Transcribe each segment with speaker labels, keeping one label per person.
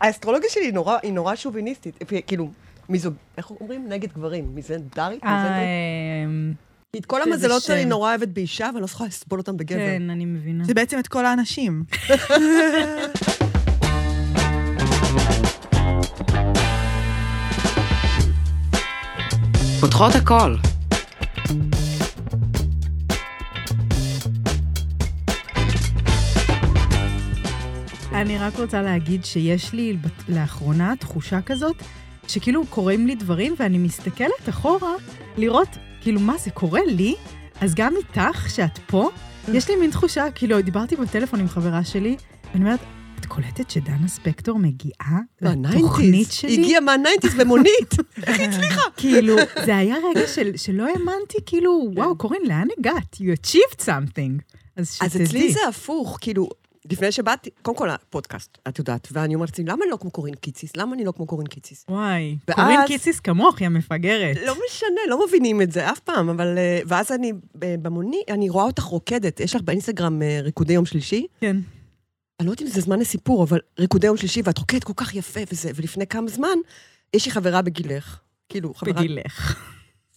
Speaker 1: האסטרולוגיה שלי היא נורא, היא נורא שוביניסטית. כאילו, מיזוג... איך אומרים? נגד גברים. מיזנדרית? מיזנדרית?
Speaker 2: אמ,
Speaker 1: כי את כל
Speaker 2: זה- זה
Speaker 1: המזלות שאני
Speaker 2: אה, שם.
Speaker 1: נורא אוהבת באישה, אבל לא צריכה לסבול אותם בגבר.
Speaker 2: כן, אני מבינה.
Speaker 3: זה בעצם את כל האנשים.
Speaker 4: פותחות הכל.
Speaker 2: אני רק רוצה להגיד שיש לי בת- לאחרונה תחושה כזאת, שכאילו קורים לי דברים ואני מסתכלת אחורה לראות, כאילו, מה זה קורה לי? אז גם איתך, שאת פה,
Speaker 1: אה.
Speaker 2: יש לי מין תחושה, כאילו, דיברתי בטלפון עם חברה שלי, ואני אומרת, את קולטת שדנה ספקטור מגיעה לתוכנית
Speaker 1: מהניינטיז.
Speaker 2: שלי?
Speaker 1: היא אה, הגיעה מהניינטיז במונית. איך היא הצליחה?
Speaker 2: כאילו, זה היה רגע של, שלא האמנתי, כאילו, וואו, קורין, לאן הגעת? You achieved something. אז שתדעי.
Speaker 1: כן. אז אצלי זה הפוך, כאילו, לפני שבאתי, קודם כל הפודקאסט, את יודעת, ואני אומרת לעצמי, למה אני לא כמו קורין קיציס? למה אני לא כמו קורין קיציס?
Speaker 2: וואי,
Speaker 1: ואז-
Speaker 2: קורין קיציס כמוך, יא מפגרת.
Speaker 1: לא משנה, לא מבינים את זה אף פעם, אבל... אה, ואז אני אה, במוני, אני רואה אותך רוקדת. יש לך באינסטגרם אה, ריקודי יום שלישי?
Speaker 2: כן.
Speaker 1: אני לא יודעת אם זה זמן לסיפור, אבל ריקודי יום שלישי, ואת רוקדת כל כך יפה וזה, ולפני כמה זמן, יש לי חברה בגילך. כאילו, חברה...
Speaker 2: בגילך.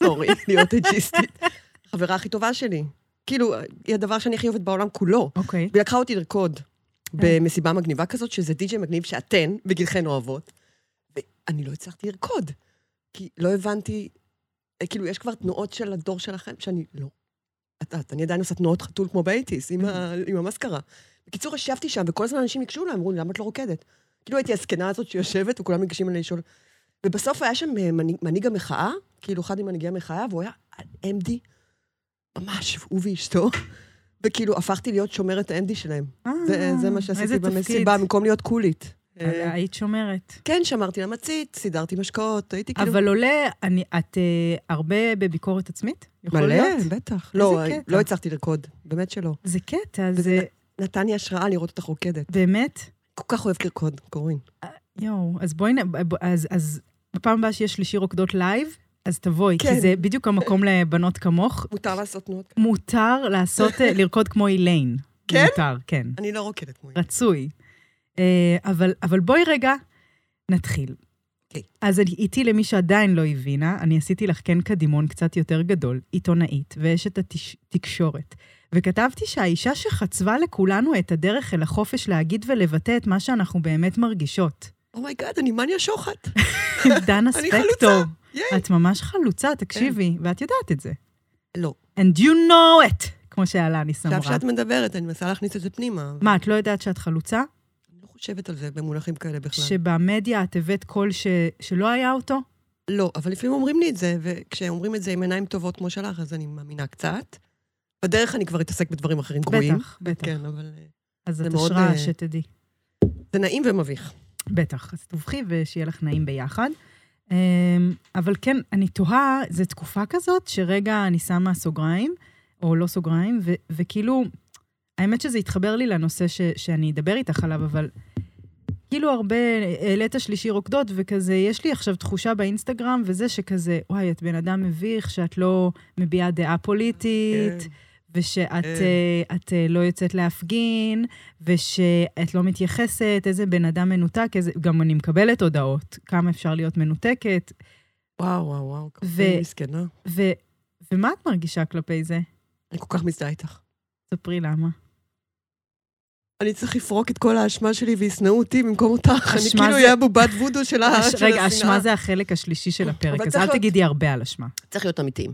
Speaker 1: סורי, להיות אג'יסטית. חברה הכי טובה שלי. כאילו, היא הדבר שאני הכי אוהבת בעולם כולו.
Speaker 2: אוקיי.
Speaker 1: והיא לקחה אותי לרקוד במסיבה מגניבה כזאת, שזה די.ג'יי מגניב שאתן, בגילכן אוהבות. ואני לא הצלחתי לרקוד, כי לא הבנתי, אה, כאילו, יש כבר תנועות של הדור שלכם, שאני לא. את יודעת, אני עדיין עושה תנועות חתול כמו באייטיס, עם, ה- עם המסקרה. בקיצור, ישבתי שם, וכל הזמן אנשים ניגשו אליי, אמרו לי, למה את לא רוקדת? כאילו הייתי הזקנה הזאת שיושבת, וכולם ניגשים אליי לשאול. ובסוף היה שם אה, מנהיג, מנהיג המחאה, כאילו אחד ממנהיגי המחאה, והוא היה MD, ממש, הוא ואשתו, וכאילו הפכתי להיות שומרת ה-MD שלהם. זה, זה
Speaker 2: אה,
Speaker 1: מה שעשיתי במסיבה, במקום להיות קולית. אה,
Speaker 2: היית שומרת.
Speaker 1: כן, שמרתי למצית, סידרתי משקאות, הייתי כאילו...
Speaker 2: אבל עולה, אני- את אה, הרבה בביקורת עצמית? יכול להיות?
Speaker 1: מלא, בטח. לא,
Speaker 2: איזה קטע.
Speaker 1: לא הצלחתי לרקוד, באמת שלא.
Speaker 2: זה קטע,
Speaker 1: וזה
Speaker 2: זה
Speaker 1: נתן לי השראה לראות אותך רוקדת.
Speaker 2: באמת...
Speaker 1: כל כך אוהבת לרקוד, קורין.
Speaker 2: יואו, אז בואי, נ- ב- אז- אז בפעם הבאה שיש שלישי רוקדות לייב, אז תבואי,
Speaker 1: כן.
Speaker 2: כי זה בדיוק המקום לבנות כמוך.
Speaker 1: מותר לעשות תנועות כאלה.
Speaker 2: מותר לעשות, אה, לרקוד כמו איליין.
Speaker 1: כן?
Speaker 2: מותר, כן.
Speaker 1: אני לא רוקדת כמו היא.
Speaker 2: רצוי. אה, אבל, אבל בואי רגע, נתחיל.
Speaker 1: אוקיי.
Speaker 2: אז אני- איתי למי שעדיין לא הבינה, אני עשיתי לך כן קדימון קצת יותר גדול, עיתונאית ואשת התקשורת. וכתבתי שהאישה שחצבה לכולנו את הדרך אל החופש להגיד ולבטא את מה שאנחנו באמת מרגישות.
Speaker 1: אומייגאד, Oh אני מניה שוחט.
Speaker 2: דנה
Speaker 1: אני
Speaker 2: ספקטור.
Speaker 1: חלוצה. ייי. כן.
Speaker 2: את ממש חלוצה, תקשיבי, ואת יודעת את זה.
Speaker 1: לא.
Speaker 2: And you know it, כמו שאלניס אמרה.
Speaker 1: עכשיו שאת מדברת, אני מנסה להכניס את זה פנימה. אבל
Speaker 2: מה, את לא יודעת שאת חלוצה?
Speaker 1: אני לא חושבת על זה במונחים כאלה בכלל.
Speaker 2: שבמדיה את הבאת קול ש... שלא היה אותו?
Speaker 1: לא, אבל לפעמים אומרים לי את זה, וכשאומרים את זה עם עיניים טובות כמו שלך, אז אני מאמינה קצת. בדרך אני כבר אתעסק בדברים אחרים גרועים.
Speaker 2: בטח, בטח.
Speaker 1: כן, אבל... אה,
Speaker 2: אז
Speaker 1: זה
Speaker 2: את
Speaker 1: מאוד,
Speaker 2: השראה
Speaker 1: אה,
Speaker 2: שתדעי.
Speaker 1: זה נעים ומביך.
Speaker 2: בטח, אז תבחי ושיהיה לך נעים ביחד. אמ, אבל כן, אני תוהה, זו תקופה כזאת שרגע אני שמה סוגריים, או לא סוגריים, ו- וכאילו, האמת שזה התחבר לי לנושא ש- שאני אדבר איתך עליו, אבל כאילו הרבה, העלית שלישי רוקדות, וכזה, יש לי עכשיו תחושה באינסטגרם, וזה שכזה, וואי, את בן אדם מביך, שאת לא מביעה דעה פוליטית,
Speaker 1: כן.
Speaker 2: ושאת
Speaker 1: כן.
Speaker 2: אה, את, אה, לא יוצאת להפגין, ושאת לא מתייחסת, איזה בן אדם מנותק, איזה... גם אני מקבלת הודעות, כמה אפשר להיות מנותקת,
Speaker 1: וואו, וואו, וואו, כמה
Speaker 2: ו-
Speaker 1: אני מסכנה.
Speaker 2: ו, ומה את מרגישה כלפי זה?
Speaker 1: אני כל כך מזדהה איתך.
Speaker 2: ספרי למה.
Speaker 1: אני צריך לפרוק את כל האשמה שלי וישנאו אותי במקום אותך. אני
Speaker 2: אשמה
Speaker 1: כאילו
Speaker 2: זה-
Speaker 1: אהיה בובת וודו של ה-
Speaker 2: אש-
Speaker 1: לא, של
Speaker 2: רגע,
Speaker 1: השנאה.
Speaker 2: אשמה זה החלק השלישי של הפרק,
Speaker 1: אבל
Speaker 2: אז
Speaker 1: צריך
Speaker 2: אל
Speaker 1: להיות- אה,
Speaker 2: תגידי הרבה על אשמה.
Speaker 1: צריך להיות אמיתיים.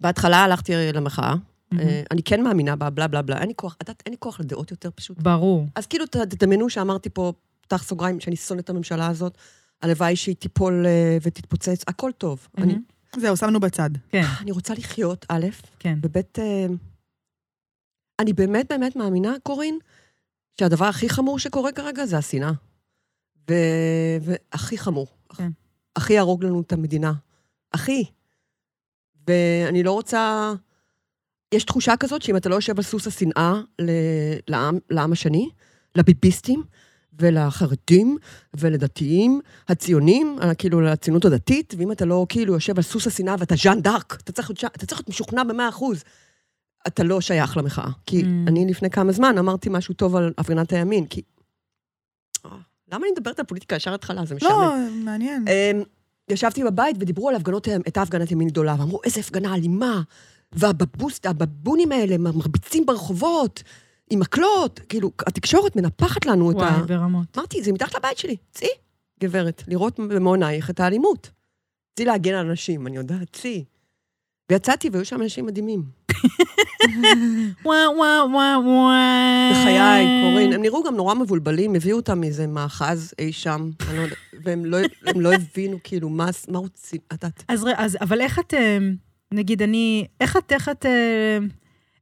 Speaker 1: בהתחלה הלכתי למחאה. אה, אני כן מאמינה בה, בלה בלה בלה. אין לי כוח, את יודעת, אין לי כוח לדעות יותר פשוט.
Speaker 2: ברור.
Speaker 1: אז כאילו, ת- תדמיינו שאמרתי פה, פתח סוגריים, שאני שונאת את הממשלה הזאת, הלוואי שהיא תיפול אה, ותתפוצץ, הכל טוב. אני-
Speaker 2: מהמם.
Speaker 3: זהו, שמנו בצד.
Speaker 2: Mm-hmm. כן,
Speaker 1: אני רוצה לחיות, א',
Speaker 2: כן.
Speaker 1: ובית... אה, אני באמת באמת מאמינה, קורין, שהדבר הכי חמור שקורה כרגע זה השנאה. ו... והכי חמור.
Speaker 2: כן.
Speaker 1: הכי יהרוג לנו את המדינה. הכי. ואני לא רוצה... יש תחושה כזאת שאם אתה לא יושב על סוס השנאה ל... לעם, לעם השני, לביביסטים ולחרדים ולדתיים, הציונים, אה, כאילו לציונות הדתית, ואם אתה לא כאילו יושב על סוס השנאה ואתה ז'אן דארק, אתה צריך, להיות ז'אן- אתה צריך להיות משוכנע במאה אחוז, אתה לא שייך למחאה. כי
Speaker 2: Mm.
Speaker 1: אני לפני כמה זמן אמרתי משהו טוב על הפגנת הימין, כי... אה, למה אני מדברת על פוליטיקה ישר התחלה? זה משעמם.
Speaker 3: לא, מעניין.
Speaker 1: אמ, ישבתי בבית ודיברו על הפגנות, הייתה הפגנת ימין גדולה, ואמרו, איזה הפגנה אלימה, והבבוסט, הבבונים האלה מרביצים ברחובות, עם מקלות, כאילו, התקשורת מנפחת לנו את ה...
Speaker 2: וואי, ברמות.
Speaker 1: אמרתי, זה מתחת לבית שלי, צאי, גברת, לראות במו עינייך את האלימות. צאי להגן על אנשים, אני יודעת, צאי. ויצאתי, והיו שם אנשים מדהימים.
Speaker 2: וואו, וואו, וואו, וואו.
Speaker 1: בחיי, קורין. הם נראו גם נורא מבולבלים, הביאו אותם מאיזה מאחז אי שם, אני לא יודעת, והם לא, הם לא הבינו, כאילו, מה, מה רוצים, את יודעת.
Speaker 2: אז, ר- אז, אבל איך את, אה, נגיד, אני, איך את, איך את, אה,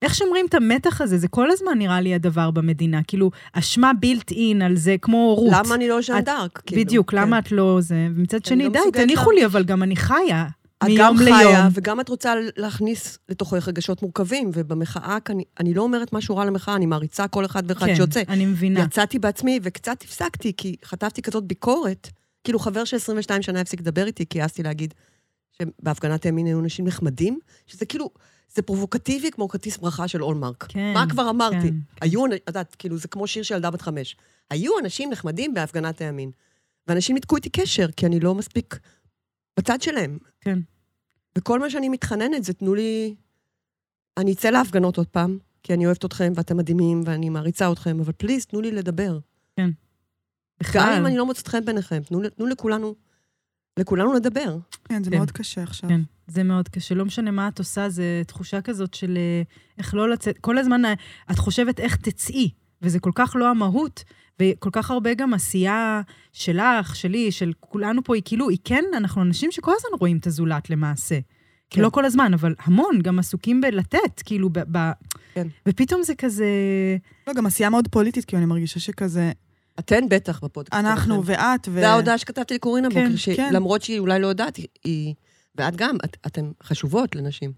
Speaker 2: איך שומרים את המתח הזה? זה כל הזמן נראה לי הדבר במדינה. כאילו, אשמה בילט אין על זה, כמו רות.
Speaker 1: למה אני לא ז'אן
Speaker 2: את-
Speaker 1: דארק? כאילו,
Speaker 2: בדיוק,
Speaker 1: כן.
Speaker 2: למה את לא זה? ומצד שני,
Speaker 1: לא
Speaker 2: די,
Speaker 1: מסוגלת
Speaker 2: תניחו
Speaker 1: לה-
Speaker 2: לי, אבל גם אני חיה.
Speaker 1: את גם
Speaker 2: מיום ליום.
Speaker 1: חיה, וגם את רוצה להכניס לתוכך רגשות מורכבים, ובמחאה, כאן- אני לא אומרת משהו רע למחאה, אני מעריצה כל אחד ואחד
Speaker 2: כן,
Speaker 1: שיוצא.
Speaker 2: אני מבינה.
Speaker 1: יצאתי בעצמי, וקצת הפסקתי, כי חטפתי כזאת ביקורת. כאילו, חבר של 22 שנה הפסיק לדבר איתי, כי העזתי להגיד שבהפגנת הימין היו אנשים נחמדים, שזה כאילו, זה פרובוקטיבי כמו כרטיס ברכה של אולמרק.
Speaker 2: כן,
Speaker 1: מה כבר אמרתי?
Speaker 2: כן.
Speaker 1: היו, אנ- את יודעת, כאילו, זה כמו שיר של ילדה בת חמש. היו אנשים נחמדים בהפגנת הימין, ואנשים ניתקו איתי קשר, כי אני לא מספיק בצד שלהם.
Speaker 2: כן.
Speaker 1: וכל מה שאני מתחננת זה תנו לי... אני אצא להפגנות עוד פעם, כי אני אוהבת אתכם, ואתם מדהימים, ואני מעריצה אתכם, אבל פליז, תנו לי לדבר. גם
Speaker 2: בכלל.
Speaker 1: אם אני לא מוצאת חן ביניכם, תנו, תנו לכולנו, לכולנו לדבר.
Speaker 3: כן, זה
Speaker 2: כן.
Speaker 3: מאוד קשה עכשיו.
Speaker 2: כן. זה מאוד קשה. לא משנה מה את עושה, זו תחושה כזאת של אה, איך לא לצאת. כל הזמן אה, את חושבת איך תצאי, וזה כל כך לא המהות, וכל כך הרבה גם עשייה שלך, שלי, של כולנו פה, היא כאילו, היא כן, אנחנו אנשים שכל הזמן רואים את הזולת למעשה.
Speaker 1: כן.
Speaker 2: כן. לא כל הזמן, אבל המון, גם עסוקים בלתת, כאילו, ב... ב...
Speaker 1: כן.
Speaker 2: ופתאום זה כזה...
Speaker 3: לא, גם עשייה מאוד פוליטית, כי אני מרגישה שכזה,
Speaker 1: אתן בטח בפודקאסט.
Speaker 3: אנחנו
Speaker 1: שלכם.
Speaker 3: ואת, ו...
Speaker 1: זה ההודעה שכתבתי לקורין הבוקר,
Speaker 2: כן,
Speaker 3: כן.
Speaker 1: שלמרות שהיא אולי לא יודעת, היא- היא... ואת גם, את, אתן חשובות לנשים.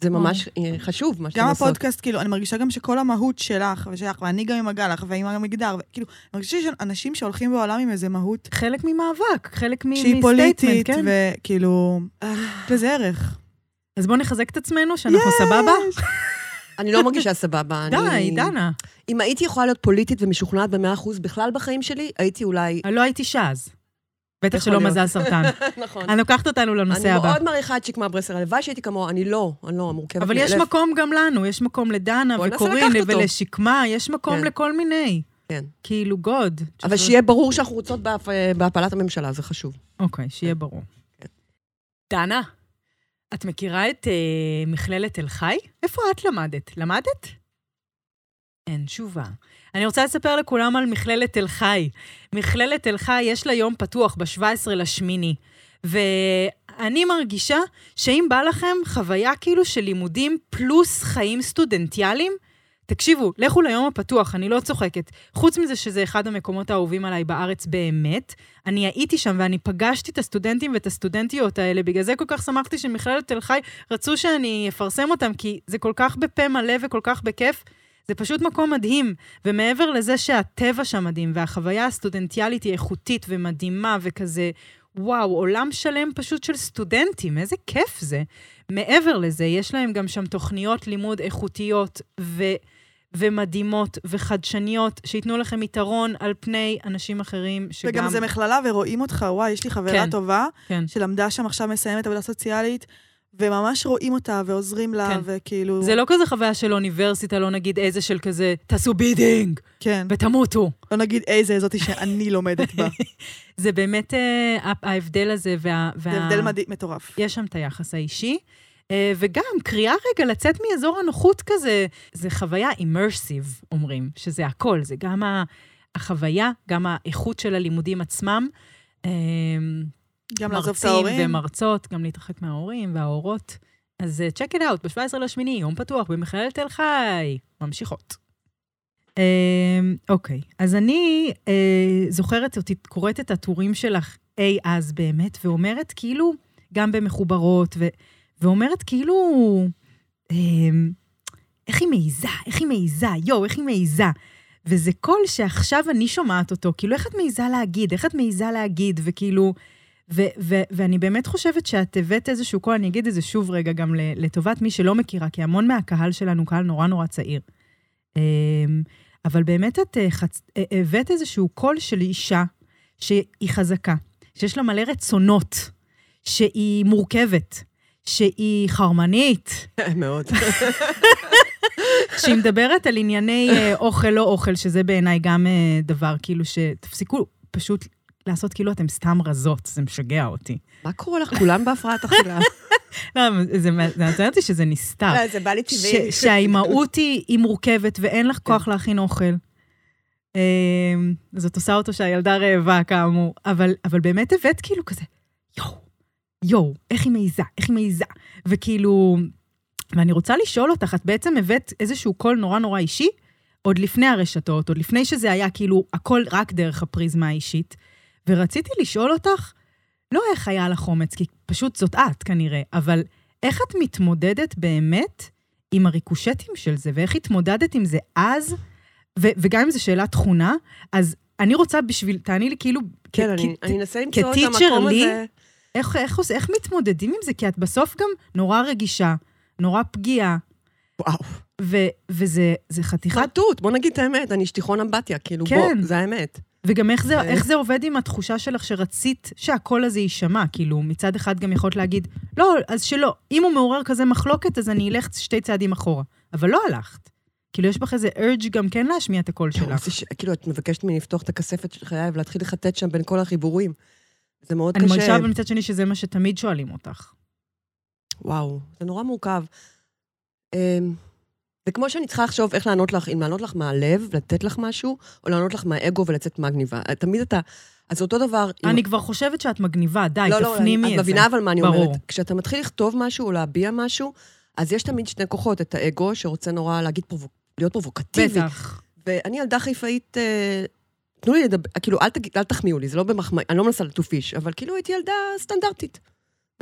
Speaker 1: זה ממש אה, חשוב, מה שאתן
Speaker 3: גם
Speaker 1: עושות.
Speaker 3: הפודקאסט, כאילו, אני מרגישה גם שכל המהות שלך ושלך, ואני גם עם הגלח, ועם המגדר, וכאילו, אני מרגישה שיש אנשים שהולכים בעולם עם איזה מהות
Speaker 2: חלק ממאבק, חלק מ-
Speaker 3: שהיא
Speaker 2: מסטייטמנט,
Speaker 3: פוליטית,
Speaker 2: כן.
Speaker 3: וכאילו,
Speaker 1: אה,
Speaker 3: יש לזה ערך.
Speaker 2: אז בואו נחזק את עצמנו, שאנחנו סבבה.
Speaker 1: אני לא מרגישה סבבה. אני-
Speaker 2: די, דנה.
Speaker 1: אם הייתי יכולה להיות פוליטית ומשוכנעת במאה אחוז בכלל בחיים שלי, הייתי אולי...
Speaker 2: לא הייתי אישה אז. בטח
Speaker 1: יכול
Speaker 2: שלא
Speaker 1: להיות.
Speaker 2: מזל סרטן.
Speaker 1: נכון.
Speaker 2: אני לוקחת אותנו לנושא
Speaker 1: אני
Speaker 2: הבא.
Speaker 1: מאוד מעריכה את שקמה ברסלר, הלוואי שהייתי כמוה, אני לא, אני לא, מורכבת
Speaker 2: אבל יש
Speaker 1: מאלף.
Speaker 2: מקום גם לנו, יש מקום לדנה
Speaker 1: בוא ננסה
Speaker 2: וקורין
Speaker 1: לקחת אותו.
Speaker 2: ולשקמה, יש מקום
Speaker 1: כן.
Speaker 2: לכל מיני.
Speaker 1: כן.
Speaker 2: כאילו, גוד.
Speaker 1: אבל שיהיה ברור שאנחנו רוצות בהפ- בהפלת הממשלה, זה חשוב.
Speaker 2: אוקיי, שיהיה ברור.
Speaker 1: כן.
Speaker 2: דנה, את מכירה את אה, מכללת תל חי? איפה את למדת? למדת? אין תשובה. אני רוצה לספר לכולם על מכללת תל חי. מכללת תל חי, יש לה יום פתוח ב-17 לשמיני. ואני מרגישה שאם בא לכם חוויה כאילו של לימודים פלוס חיים סטודנטיאליים, תקשיבו, לכו ליום הפתוח, אני לא צוחקת. חוץ מזה שזה אחד המקומות האהובים עליי בארץ באמת, אני הייתי שם ואני פגשתי את הסטודנטים ואת הסטודנטיות האלה, בגלל זה כל כך שמחתי שמכללת תל חי רצו שאני אפרסם אותם, כי זה כל כך בפה מלא וכל כך בכיף. זה פשוט מקום מדהים, ומעבר לזה שהטבע שם מדהים, והחוויה הסטודנטיאלית היא איכותית ומדהימה וכזה, וואו, עולם שלם פשוט של סטודנטים, איזה כיף זה. מעבר לזה, יש להם גם שם תוכניות לימוד איכותיות ו... ומדהימות וחדשניות, שייתנו לכם יתרון על פני אנשים אחרים, שגם...
Speaker 3: וגם זה מכללה ורואים אותך, וואי, יש לי חברה
Speaker 2: כן.
Speaker 3: טובה,
Speaker 2: כן.
Speaker 3: שלמדה שם עכשיו, מסיימת עבודה סוציאלית, וממש רואים אותה ועוזרים לה,
Speaker 2: כן.
Speaker 3: וכאילו...
Speaker 2: זה לא כזה חוויה של אוניברסיטה, לא נגיד איזה של כזה, תעשו בידינג
Speaker 3: כן.
Speaker 2: ותמותו.
Speaker 3: לא נגיד איזה, זאתי שאני לומדת בה.
Speaker 2: זה באמת אה, ה- ההבדל הזה וה... וה...
Speaker 3: זה הבדל מדהים, מטורף.
Speaker 2: יש שם את היחס האישי. אה, וגם קריאה רגע לצאת מאזור הנוחות כזה, זה חוויה אימרסיב, אומרים, שזה הכל, זה גם ה- החוויה, גם האיכות של הלימודים עצמם. אה,
Speaker 3: גם לעזוב את
Speaker 2: מרצים
Speaker 3: ההורים.
Speaker 2: ומרצות, גם להתרחק מההורים וההורות. אז אה, צ'ק את אאוט, ב-17 לשמיני, יום פתוח במכללת תל חי. ממשיכות. אה, אוקיי, אז אני אה, זוכרת אותי, קוראת את הטורים שלך אי אז באמת, ואומרת כאילו, גם במחוברות, ו, ואומרת כאילו, אה, איך היא מעיזה, איך היא מעיזה, יואו, איך היא מעיזה. וזה קול שעכשיו אני שומעת אותו, כאילו, איך את מעיזה להגיד, איך את מעיזה להגיד, וכאילו, ו- ו- ואני באמת חושבת שאת הבאת איזשהו קול, אני אגיד את זה שוב רגע, גם ל- לטובת מי שלא מכירה, כי המון מהקהל שלנו קהל נורא נורא צעיר. אמ, אבל באמת את אה, חצ... אה, הבאת איזשהו קול של אישה שהיא חזקה, שיש לה מלא רצונות, שהיא מורכבת, שהיא חרמנית,
Speaker 1: כן, מאוד.
Speaker 2: שהיא מדברת על ענייני אה, אוכל לא אוכל, שזה בעיניי גם אה, דבר כאילו שתפסיקו פשוט לעשות כאילו אתם סתם רזות, זה משגע אותי.
Speaker 1: מה קורה לך? כולם בהפרעת אכילה.
Speaker 2: לא, זה מעצבן אותי שזה נסתר.
Speaker 1: לא, זה בא לי טבעי.
Speaker 2: ש- שהאימהות היא היא מורכבת ואין לך כוח להכין אוכל. אמ, זאת עושה אותו שהילדה רעבה, כאמור. אבל, אבל באמת הבאת כאילו כזה, יואו, יואו, איך היא מעיזה, איך היא מעיזה. וכאילו, ואני רוצה לשאול אותך, את בעצם הבאת איזשהו קול נורא נורא אישי, עוד לפני הרשתות, עוד לפני שזה היה כאילו הכל רק דרך הפריזמה האישית. ורציתי לשאול אותך, לא איך היה לך אומץ, כי פשוט זאת את כנראה, אבל איך את מתמודדת באמת עם הריקושטים של זה, ואיך התמודדת עם זה אז, ו- וגם אם זו שאלת תכונה, אז אני רוצה בשביל, תעני לי כאילו,
Speaker 1: כן,
Speaker 2: כ-
Speaker 1: אני-
Speaker 2: כ-
Speaker 1: אני אנסה למצוא את
Speaker 2: כ-teacher
Speaker 1: המקום
Speaker 2: לי,
Speaker 1: הזה.
Speaker 2: איך, איך, עוש- איך מתמודדים עם זה? כי את בסוף גם נורא רגישה, נורא פגיעה,
Speaker 1: וואו.
Speaker 2: ו- וזה זה חתיכת...
Speaker 1: חטוט, בוא נגיד את האמת, אני שטיחון אמבטיה, כאילו,
Speaker 2: כן.
Speaker 1: בוא, זה האמת.
Speaker 2: וגם איך זה,
Speaker 1: זה-
Speaker 2: איך זה עובד עם התחושה שלך שרצית שהקול הזה יישמע? כאילו, מצד אחד גם יכולת להגיד, לא, אז שלא. אם הוא מעורר כזה מחלוקת, אז אני אלך שתי צעדים אחורה. אבל לא הלכת. כאילו, יש בך איזה urge גם כן להשמיע את הקול
Speaker 1: תראו,
Speaker 2: שלך.
Speaker 1: זה ש- כאילו, את מבקשת ממני לפתוח את הכספת של חייו, להתחיל לחטט שם בין כל החיבורים. זה מאוד
Speaker 2: אני
Speaker 1: קשה.
Speaker 2: מרגישה אבל מצד שני שזה מה שתמיד שואלים אותך.
Speaker 1: וואו, זה נורא מורכב. אמ, זה כמו שאני צריכה לחשוב איך לענות לך, אם לענות לך מהלב, לתת לך משהו, או לענות לך מהאגו ולצאת מגניבה. תמיד אתה... אז אותו דבר... אם-
Speaker 2: אני כבר חושבת שאת מגניבה, די,
Speaker 1: לא, לא,
Speaker 2: תפנימי את זה.
Speaker 1: את מבינה אבל מה אני
Speaker 2: ברור.
Speaker 1: אומרת. כשאתה מתחיל לכתוב משהו או להביע משהו, אז יש תמיד שני כוחות, את האגו, שרוצה נורא להגיד פרובוק... להיות פרובוקטיבי.
Speaker 2: בטח.
Speaker 1: ואני ילדה חיפאית, אה, תנו לי לדבר, כאילו, אל, תגיד, אל תחמיאו לי, זה לא במחמאה, אני לא מנסה לטופיש, אבל כאילו הייתי ילדה סטנדרטית,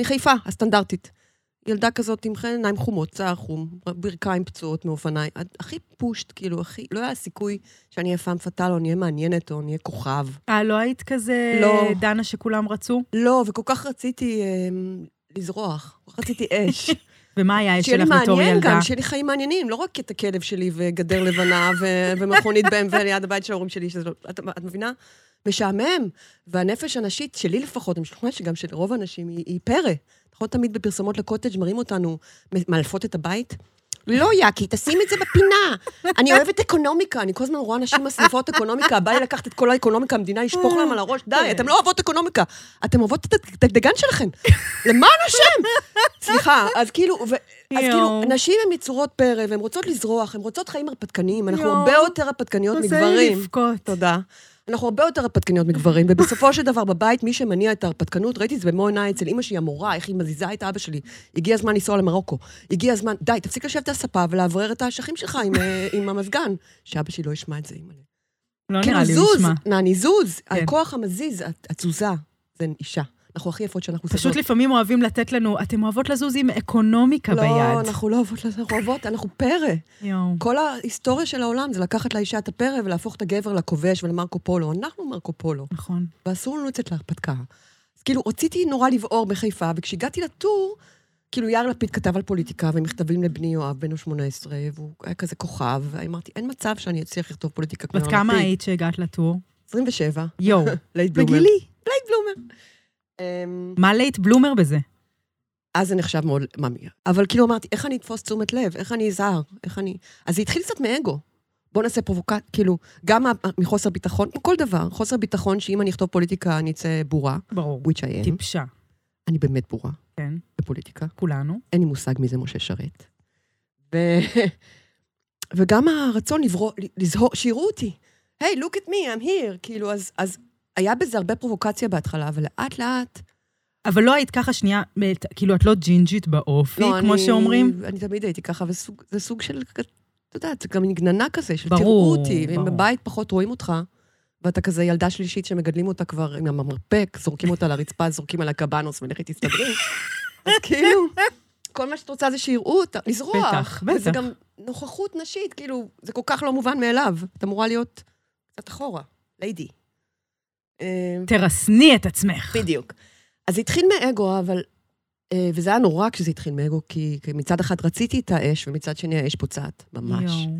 Speaker 1: מחיפה, הסטנדרטית. ילדה כזאת עם חן עיניים חומות, צער חום, ברכיים פצועות מאופניים, את הכי פושט, כאילו, הכי, לא היה סיכוי שאני אהיה פעם פאטל, או נהיה מעניינת, או נהיה כוכב.
Speaker 2: אה, לא היית כזה
Speaker 1: לא.
Speaker 2: דנה שכולם רצו?
Speaker 1: לא, וכל כך רציתי אה, לזרוח, כל כך רציתי אש.
Speaker 2: ומה היה
Speaker 1: שיהיה לי
Speaker 2: שלך בתור
Speaker 1: מעניין
Speaker 2: ילדה?
Speaker 1: גם, שיהיה לי חיים מעניינים, לא רק את הכלב שלי וגדר לבנה ו- ומכונית BMW ליד הבית של ההורים שלי, שזה לא... את, את מבינה? משעמם. והנפש הנשית, שלי לפחות, אני משוכנעת שגם של רוב האנשים, היא, היא פרא. נכון תמיד בפרסומות לקוטג' מראים אותנו, מ- מאלפות את הבית? לא, יאקי, תשים את זה בפינה. אני אוהבת אקונומיקה, אני כל הזמן רואה נשים מסניפות אקונומיקה, בא לי לקחת את כל האקונומיקה, המדינה ישפוך להם על הראש, די, אתם לא אוהבות אקונומיקה. אתם אוהבות את הדגדגן שלכם. למען השם! סליחה, אז כאילו, ו- אז כאילו,
Speaker 2: יואו.
Speaker 1: נשים הן יצורות פרא, והן רוצות לזרוח, הן רוצות חיים הרפתקניים, אנחנו
Speaker 2: יואו.
Speaker 1: הרבה יותר הרפתקניות
Speaker 2: עושה לי
Speaker 1: מגברים.
Speaker 2: לבכות.
Speaker 1: תודה. אנחנו הרבה יותר הרפתקניות מגברים, ובסופו של דבר בבית, מי שמניע את ההרפתקנות, ראיתי את זה במו עיניי אצל אימא שהיא המורה, איך היא מזיזה את אבא שלי. הגיע הזמן לנסוע למרוקו. הגיע הזמן, די, תפסיק לשבת על הספה ולאוורר את האשכים שלך עם, אה, עם המזגן. שאבא שלי לא ישמע את זה, אימא.
Speaker 2: לא
Speaker 1: כאילו,
Speaker 2: נראה לי, הוא
Speaker 1: זוז,
Speaker 2: נשמע.
Speaker 1: נני, זוז.
Speaker 2: כן.
Speaker 1: הכוח המזיז, הת- התזוזה, זה אישה. אנחנו הכי יפות שאנחנו
Speaker 2: פשוט לפעמים אוהבים לתת לנו, אתם אוהבות לזוז עם אקונומיקה ביד.
Speaker 1: לא, אנחנו לא אוהבות, אנחנו אוהבות, אנחנו פרא.
Speaker 2: יואו.
Speaker 1: כל ההיסטוריה של העולם זה לקחת לאישה את הפרא ולהפוך את הגבר לכובש ולמרקו פולו. אנחנו מרקו פולו,
Speaker 2: נכון.
Speaker 1: ואסור לנו לצאת להרפתקה. אז כאילו, רציתי נורא לבעור בחיפה, וכשהגעתי לטור, כאילו, יאיר לפיד כתב על פוליטיקה ומכתבים לבני יואב, בן ה-18, והוא היה כזה כוכב, ואמרתי, אין מצב שאני אצליח לכתוב פוליטיקה כמו
Speaker 2: בת
Speaker 1: יאיר
Speaker 2: כמה
Speaker 1: לפיד."
Speaker 2: היית שהגעת לטור?
Speaker 1: 27.
Speaker 2: יואו.
Speaker 1: לייט בלומר.
Speaker 2: בגילי.
Speaker 1: לייט בלומר. אמ,
Speaker 2: מה לייט בלומר בזה?
Speaker 1: אז זה נחשב מאוד ממי. אבל כאילו אמרתי, איך אני אתפוס תשומת לב? איך אני אזהר? איך אני... אז זה התחיל קצת מאגו. בוא נעשה פרובוקט, כאילו, גם מה- מחוסר ביטחון, כמו כל דבר, חוסר ביטחון שאם אני אכתוב פוליטיקה אני אצא בורה,
Speaker 2: ברור.
Speaker 1: which I am,
Speaker 2: טיפשה.
Speaker 1: אני באמת בורה
Speaker 2: כן,
Speaker 1: בפוליטיקה,
Speaker 2: כולנו.
Speaker 1: אין לי מושג מי זה משה שרת. ו... וגם הרצון לברוא, לזהור, שיראו אותי. היי, hey, look at me, I'm here. כאילו, אז, אז היה בזה הרבה פרובוקציה בהתחלה, אבל לאט לאט...
Speaker 2: אבל לא היית ככה שנייה, מת- כאילו, את לא ג'ינג'ית באופי, כמו שאומרים?
Speaker 1: לא, אני תמיד הייתי ככה, וזה סוג של, את יודעת, זה גם נגננה כזה, של
Speaker 2: ברור,
Speaker 1: תראו אותי, אם
Speaker 2: ברור.
Speaker 1: בבית פחות רואים אותך, ואתה כזה ילדה שלישית שמגדלים אותה כבר עם המרפק, זורקים אותה לרצפה, זורקים עליה קבנוס ולכי תסתדרי. אז כאילו, כל מה שאת רוצה זה שיראו אותה, לזרוח.
Speaker 2: בטח,
Speaker 1: וזה
Speaker 2: בטח.
Speaker 1: גם נוכחות נשית, כאילו, זה כל כך לא מובן מאליו. את אמורה להיות קצת אחורה, ליידי. אה,
Speaker 2: תרסני את עצמך.
Speaker 1: בדיוק. אז זה התחיל מאגו, אבל... אה, וזה היה נורא כשזה התחיל מאגו, כי כי מצד אחד רציתי את האש, ומצד שני האש פוצעת, ממש. יו.
Speaker 2: יואו.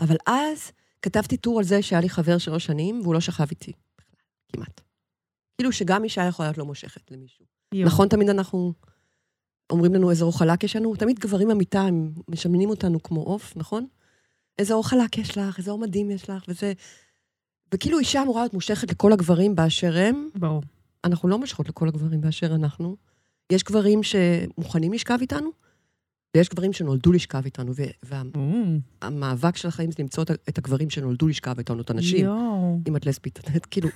Speaker 1: אבל אז כתבתי טור על זה שהיה לי חבר שלוש שנים, והוא לא שכב איתי. כמעט. כאילו שגם אישה יכולה להיות לא מושכת למישהו.
Speaker 2: יו.
Speaker 1: נכון, תמיד אנחנו אומרים לנו איזה אור חלק יש לנו? תמיד גברים במיטה, הם משמנים אותנו כמו עוף, נכון? איזה אור חלק יש לך, איזה אור מדהים יש לך, וזה... וכאילו אישה אמורה להיות מושכת לכל הגברים באשר הם,
Speaker 2: ברור.
Speaker 1: אנחנו לא מושכות לכל הגברים באשר אנחנו. יש גברים שמוכנים לשכב איתנו, ויש גברים שנולדו לשכב איתנו, ו- וה- המאבק של החיים זה למצוא את ה- את הגברים שנולדו לשכב איתנו, את הנשים.
Speaker 2: יואו.
Speaker 1: אם את לסבית, את יודעת, כאילו,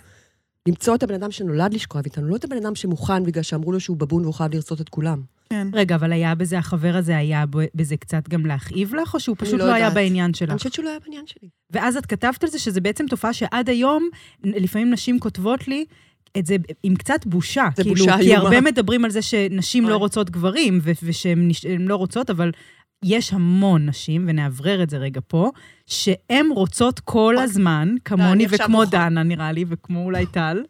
Speaker 1: למצוא את הבן אדם שנולד לשכב איתנו, לא את הבן אדם שמוכן בגלל שאמרו לו שהוא בבון והוא חייב לרצות את כולם.
Speaker 3: כן.
Speaker 2: רגע, אבל היה בזה, החבר הזה היה ב- בזה קצת גם להכאיב לך, או שהוא
Speaker 1: אני
Speaker 2: פשוט
Speaker 1: לא
Speaker 2: לא היה
Speaker 1: יודעת.
Speaker 2: בעניין
Speaker 1: אני
Speaker 2: שלך?
Speaker 1: חושבת שהוא לא היה בעניין שלי.
Speaker 2: ואז את כתבת על זה שזה בעצם תופעה שעד היום, לפעמים נשים כותבות לי את זה עם קצת בושה.
Speaker 1: זה
Speaker 2: כאילו,
Speaker 1: בושה
Speaker 2: כי
Speaker 1: איומה.
Speaker 2: הרבה מדברים על זה שנשים לא
Speaker 1: אוי.
Speaker 2: רוצות גברים, ו- ושהן נש- הן לא רוצות, אבל יש המון נשים, ונאוורר את זה רגע פה, שהן רוצות כל
Speaker 1: אוי. לא,
Speaker 2: הזמן, כמוני
Speaker 1: עכשיו
Speaker 2: וכמו
Speaker 1: מוחה.
Speaker 2: דנה, נראה לי, וכמו אולי טל.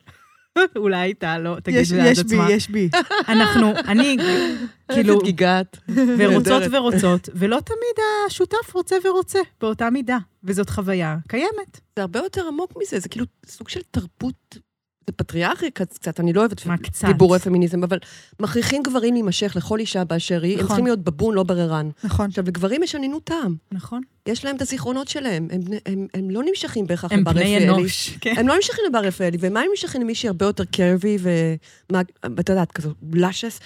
Speaker 2: אולי טל, לא,
Speaker 3: יש,
Speaker 2: תגידי
Speaker 3: יש
Speaker 2: את
Speaker 3: בי,
Speaker 2: עצמה.
Speaker 3: יש בי.
Speaker 2: אנחנו, אני, כאילו,
Speaker 1: איזה גיגת.
Speaker 2: ורוצות
Speaker 1: נהדרת.
Speaker 2: ורוצות, ולא תמיד השותף רוצה ורוצה, באותה מידה. וזאת חוויה קיימת.
Speaker 1: זה הרבה יותר עמוק מזה, זה כאילו סוג של תרבות, זה פטריארכי קצ- קצת, אני לא אוהבת
Speaker 2: מה, קצת?
Speaker 1: דיבורי פמיניזם, אבל מכריחים גברים להימשך לכל אישה באשר היא, הם
Speaker 3: נכון.
Speaker 1: צריכים להיות בבון, לא בררן.
Speaker 3: נכון.
Speaker 1: עכשיו, לגברים יש אנינות טעם,
Speaker 2: נכון.
Speaker 1: יש להם את הזיכרונות שלהם, הם, הם, הם לא נמשכים בהכרח
Speaker 2: הם
Speaker 1: לבר
Speaker 2: בני
Speaker 1: רפאלי.
Speaker 2: אנוש. כן.
Speaker 1: הם לא נמשכים לבר רפאלי, ומה הם נמשכים למישהי הרבה יותר קרבי ואת יודעת, כזו לאשס?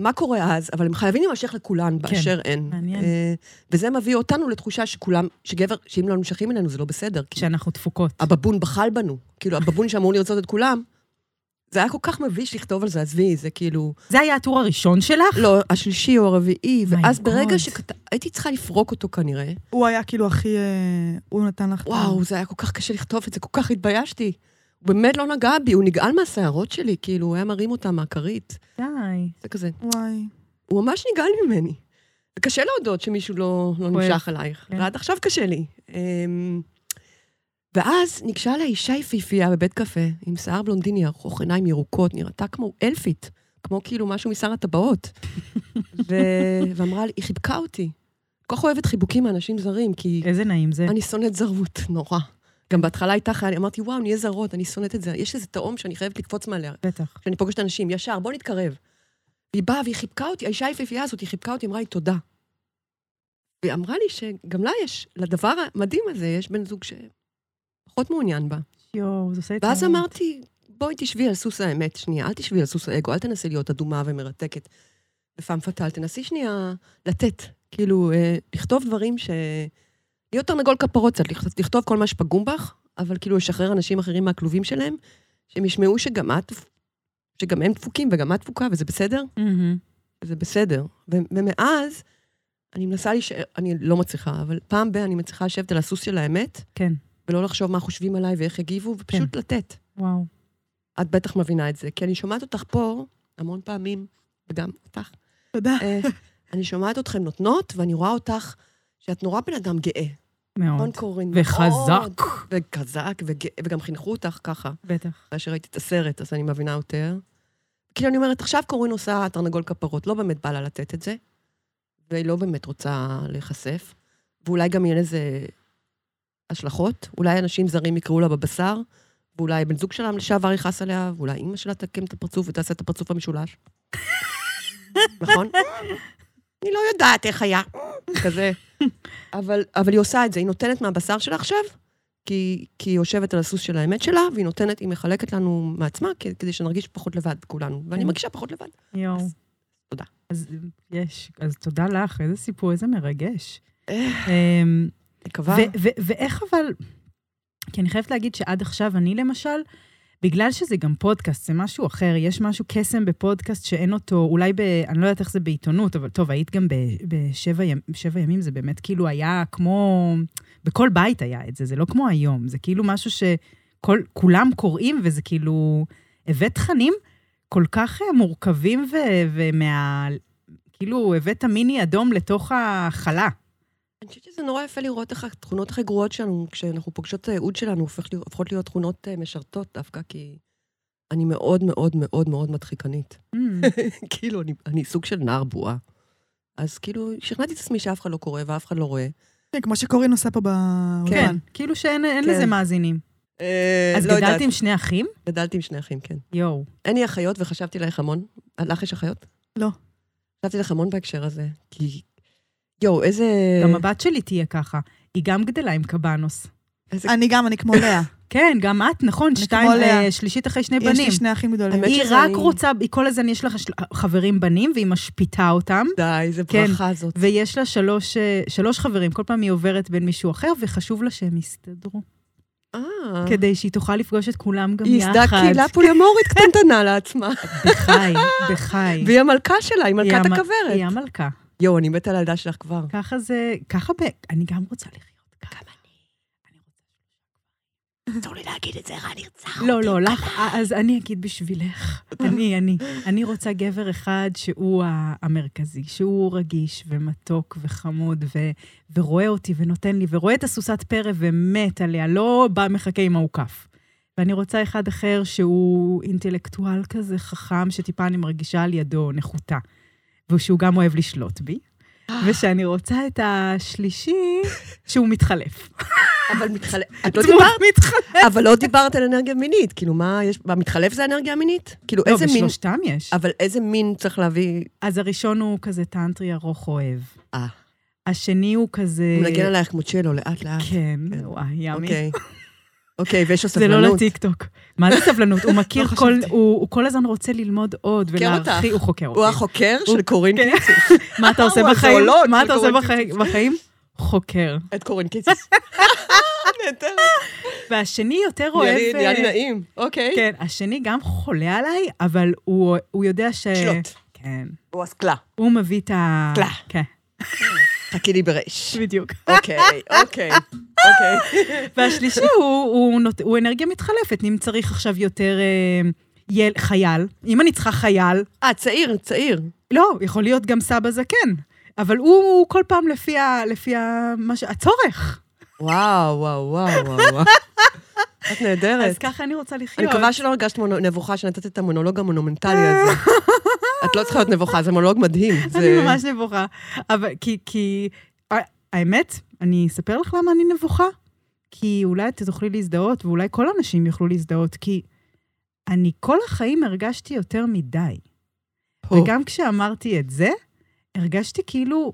Speaker 1: מה קורה אז? אבל הם חייבים להימשך לכולן באשר הן.
Speaker 2: כן. מעניין.
Speaker 1: אה, וזה מביא אותנו לתחושה שכולם, שגבר, שאם לא נמשכים אלינו זה לא בסדר. כי
Speaker 2: שאנחנו דפוקות.
Speaker 1: הבבון בחל בנו. כאילו, הבבון שאמור לרצות את כולם, זה היה כל כך מביש לכתוב על זה, עזבי, זה כאילו...
Speaker 2: זה היה הטור הראשון שלך?
Speaker 1: לא, השלישי או הרביעי,
Speaker 2: Oh My
Speaker 1: ואז
Speaker 2: God.
Speaker 1: ברגע שהייתי צריכה לפרוק אותו כנראה,
Speaker 3: הוא היה כאילו הכי... אה, הוא נתן לך...
Speaker 2: Oh.
Speaker 1: וואו, זה היה כל כך קשה לכתוב את זה, כל כך התביישתי. הוא באמת לא נגע בי, הוא נגעל מהשערות שלי, כאילו, הוא היה מרים אותם מהכרית.
Speaker 2: די.
Speaker 1: זה כזה.
Speaker 3: וואי.
Speaker 1: הוא ממש נגעל ממני. זה קשה להודות שמישהו לא, לא
Speaker 2: כואב.
Speaker 1: נמשך אלייך,
Speaker 2: כן.
Speaker 1: ועד עכשיו קשה לי. אמ, ואז ניגשה אליי אישה יפיפייה בבית קפה, עם שיער בלונדיני ארוך, עיניים ירוקות, נראתה כמו אלפית, כמו כאילו משהו משר הטבעות. ו... ואמרה לי, היא חיבקה אותי. כל כך אוהבת חיבוקים מאנשים זרים, כי
Speaker 2: איזה נעים זה.
Speaker 1: אני שונאת זרות, נורא. גם בהתחלה הייתה חיה, אמרתי, וואו, נהיה זרות, אני שונאת את זה. יש איזה תהום שאני חייבת לקפוץ מעליה.
Speaker 2: בטח.
Speaker 1: כשאני פוגשת אנשים, ישר, בוא נתקרב. והיא באה והיא חיבקה אותי, האישה היפהפייה הזאת, היא חיבקה אותי, אמרה לי תודה. והיא אמרה לי שגם לה יש, לדבר המדהים הזה, יש בן זוג שפחות מעוניין בה.
Speaker 2: יואו, זה עושה את
Speaker 1: ואז
Speaker 2: זה.
Speaker 1: אמרתי, בואי תשבי על סוס האמת שנייה, אל תשבי על סוס האגו, אל תנסי להיות אדומה ומרתקת. בפעם פאטל, תנסי שנייה לתת, כאילו, אה, לכתוב דברים ש... להיות תרנגול כפרות קצת, לכת- לכתוב כל מה שפגום בך, אבל כאילו לשחרר אנשים אחרים מהכלובים שלהם, שהם ישמעו שגם את, שגם הם דפוקים וגם את דפוקה, וזה בסדר,
Speaker 2: מהמם.
Speaker 1: זה בסדר. ו- ומאז, אני מנסה להישאר, אני לא מצליחה, אבל פעם ב- אני מצליחה לשבת על הסוס של האמת,
Speaker 2: כן.
Speaker 1: ולא לחשוב מה חושבים עליי ואיך יגיבו, ופשוט לתת.
Speaker 2: וואו.
Speaker 1: את בטח מבינה את זה, כי אני שומעת אותך פה המון פעמים, וגם אותך.
Speaker 3: תודה.
Speaker 1: אה, אני שומעת אתכם נותנות, ואני רואה אותך, שאת נורא בן אדם גאה.
Speaker 2: מאוד.
Speaker 1: נכון, קורין? מאוד.
Speaker 2: וחזק.
Speaker 1: וחזק, וגאה, וגם חינכו אותך ככה.
Speaker 2: בטח.
Speaker 1: אחרי שראיתי את הסרט, אז אני מבינה יותר. כאילו, אני אומרת, עכשיו קורין עושה תרנגול כפרות, לא באמת בא לה לתת את זה, והיא לא באמת רוצה להיחשף, ואולי גם יהיה לזה השלכות, אולי אנשים זרים יקראו לה בבשר, ואולי בן זוג שלה לשעבר יכעס עליה, ואולי אימא שלה תקם את הפרצוף ותעשה את הפרצוף המשולש. נכון? אני לא יודעת איך היה, כזה. אבל, אבל היא עושה את זה, היא נותנת מהבשר שלה עכשיו, כי, כי היא יושבת על הסוס של האמת שלה, והיא נותנת, היא מחלקת לנו מעצמה, כ- כדי שנרגיש פחות לבד כולנו. ואני
Speaker 2: כן.
Speaker 1: מרגישה פחות לבד.
Speaker 2: יואו.
Speaker 1: אז תודה.
Speaker 2: אז יש. אז תודה לך, איזה סיפור, איזה מרגש.
Speaker 1: אה.
Speaker 2: אמ,
Speaker 1: מקווה.
Speaker 2: ו- ו- ואיך אבל, כי אני חייבת להגיד שעד עכשיו אני למשל, בגלל שזה גם פודקאסט, זה משהו אחר, יש משהו קסם בפודקאסט שאין אותו, אולי ב... אני לא יודעת איך זה בעיתונות, אבל טוב, היית גם ב- בשבע ימ, שבע ימים, זה באמת כאילו היה כמו... בכל בית היה את זה, זה לא כמו היום, זה כאילו משהו שכולם קוראים, וזה כאילו... הבאת תכנים כל כך אה, מורכבים ו, ומה... כאילו, הבאת מיני אדום לתוך החלה.
Speaker 1: אני חושבת שזה נורא יפה לראות איך התכונות הכי גרועות שלנו, כשאנחנו פוגשות את הייעוד שלנו, הופך להיות- הופכות להיות תכונות אה, משרתות דווקא, כי אני מאוד מאוד מאוד מאוד מדחיקנית.
Speaker 2: Mm.
Speaker 1: כאילו, אני, אני סוג של נער בועה. אז כאילו, שכנעתי את עצמי שאף אחד לא קורא ואף אחד לא רואה.
Speaker 3: כן, כמו שקורין עושה פה באולפן.
Speaker 2: כן, כאילו שאין אין
Speaker 1: כן.
Speaker 2: לזה מאזינים.
Speaker 1: אה,
Speaker 2: אז
Speaker 1: לא יודעת.
Speaker 2: גדלת עם שני אחים?
Speaker 1: גדלתי עם שני אחים, כן.
Speaker 2: יואו.
Speaker 1: אין לי אחיות וחשבתי עלייך המון. לך יש אחיות?
Speaker 3: לא.
Speaker 1: חשבתי לך המון בהקשר הזה, כי... יואו, איזה...
Speaker 2: גם הבת שלי תהיה ככה. היא גם גדלה עם קבנוס.
Speaker 3: אני גם, אני כמו לאה.
Speaker 2: כן, גם את, נכון,
Speaker 3: אני
Speaker 2: שתיים,
Speaker 3: כמו לאה.
Speaker 2: אה, שלישית אחרי שני
Speaker 3: יש
Speaker 2: בנים.
Speaker 3: לי שני אחים גדולים.
Speaker 1: האמת
Speaker 2: היא
Speaker 1: שזה
Speaker 2: רק
Speaker 1: אני-
Speaker 2: רוצה, היא כל הזמן יש לה חש- חברים בנים, והיא משפיטה אותם,
Speaker 1: די, איזה
Speaker 2: כן.
Speaker 1: ברכה הזאת.
Speaker 2: ויש לה שלוש, אה, שלוש חברים, כל פעם היא עוברת בין מישהו אחר, וחשוב לה שהם יסתדרו,
Speaker 1: אה,
Speaker 2: כדי שהיא תוכל לפגוש את כולם גם
Speaker 1: היא
Speaker 2: יחד. כן.
Speaker 1: ייסדה קהילה פולמורית קטנטנה לעצמה.
Speaker 2: בחי, בחי.
Speaker 1: והיא המלכה שלה, היא
Speaker 2: היא
Speaker 1: מלכת
Speaker 2: המ- היא
Speaker 1: הכוורת.
Speaker 2: המלכה.
Speaker 1: יואו, אני מתה על הילדה שלך כבר.
Speaker 2: ככה זה, ככה ב... אני גם רוצה לחיות ככה. גם אני.
Speaker 1: אסור לי להגיד את זה, רע נרצח.
Speaker 2: לא, לא, לך, אז אני אגיד בשבילך. אני, אני. אני רוצה גבר אחד שהוא ה- המרכזי, שהוא רגיש ומתוק וחמוד, ו- ורואה אותי ונותן לי, ורואה את הסוסת פרא ומת עליה, לא בא מחכה עם האוכף. ואני רוצה אחד אחר שהוא אינטלקטואל כזה חכם, שטיפה אני מרגישה על ידו נחותה. ושהוא גם אוהב לשלוט בי. ושאני רוצה את השלישי, שהוא מתחלף.
Speaker 1: אבל מתחלף, את לא
Speaker 2: דמות
Speaker 1: דיברת,
Speaker 2: מתחלף.
Speaker 1: אבל לא דיברת על אנרגיה מינית. כאילו, מה יש, המתחלף זה אנרגיה מינית? כאילו,
Speaker 2: לא,
Speaker 1: איזה מין,
Speaker 2: בשלושתם יש.
Speaker 1: אבל איזה מין צריך להביא...
Speaker 2: אז הראשון הוא כזה טנטרי ארוך אוהב.
Speaker 1: אה,
Speaker 2: השני הוא כזה...
Speaker 1: הוא מנגן עלייך כמו צ'לו, לאט-לאט.
Speaker 2: אה, כן, וואי, ימי.
Speaker 1: אוקיי. אוקיי, ויש לו
Speaker 2: זה לא
Speaker 1: סבלנות.
Speaker 2: לטיקטוק. מה זה סבלנות? הוא מכיר
Speaker 3: לא
Speaker 2: כל...
Speaker 3: חשבתי.
Speaker 2: הוא הוא כל הזמן רוצה ללמוד עוד
Speaker 1: חוקר
Speaker 2: ולהרחיב. הוא חוקר
Speaker 1: הוא
Speaker 2: אותי.
Speaker 1: החוקר של קורין
Speaker 2: כן.
Speaker 1: קיציס.
Speaker 2: מה אתה עושה
Speaker 1: הוא
Speaker 2: בחיים?
Speaker 1: הזואולוג
Speaker 2: מה
Speaker 1: של
Speaker 2: אתה עושה
Speaker 1: קורן
Speaker 2: בחיים- בחיים? חוקר.
Speaker 1: את קורין קיציס. נהדרת.
Speaker 2: והשני יותר
Speaker 1: נראה
Speaker 2: אוהב...
Speaker 1: לי- נראה לי
Speaker 2: אה,
Speaker 1: נעים. אוקיי.
Speaker 2: כן, השני גם חולה עליי, אבל הוא הוא יודע ש...
Speaker 1: שלוט.
Speaker 2: כן.
Speaker 1: הוא אסקלה.
Speaker 2: הוא מביא את ה...
Speaker 1: קלה.
Speaker 2: כן,
Speaker 1: חכי לי ברייש.
Speaker 2: בדיוק.
Speaker 1: אוקיי, אוקיי, אוקיי.
Speaker 2: והשלישי הוא, הוא, נות... הוא אנרגיה מתחלפת. אם צריך עכשיו יותר אה, יל... חייל, אם אני צריכה חייל,
Speaker 1: אה, צעיר, צעיר.
Speaker 2: לא, יכול להיות גם סבא זקן. אבל הוא, הוא כל פעם לפי, ה... לפי ה... מה ש... הצורך.
Speaker 1: וואו, וואו, וואו, וואו. וואו. את נהדרת.
Speaker 2: אז ככה אני רוצה לחיות.
Speaker 1: אני מקווה שלא הרגשת מונו- נבוכה שנתת את המונולוג המונומנטלי הזה. את לא צריכה להיות נבוכה, זה מונולוג מדהים.
Speaker 2: אני
Speaker 1: זה-
Speaker 2: ממש נבוכה. אבל כי... כי... ה- האמת, אני אספר לך למה אני נבוכה. כי אולי את תוכלי להזדהות, ואולי כל הנשים יוכלו להזדהות, כי אני כל החיים הרגשתי יותר מדי.
Speaker 1: הו.
Speaker 2: וגם כשאמרתי את זה, הרגשתי כאילו,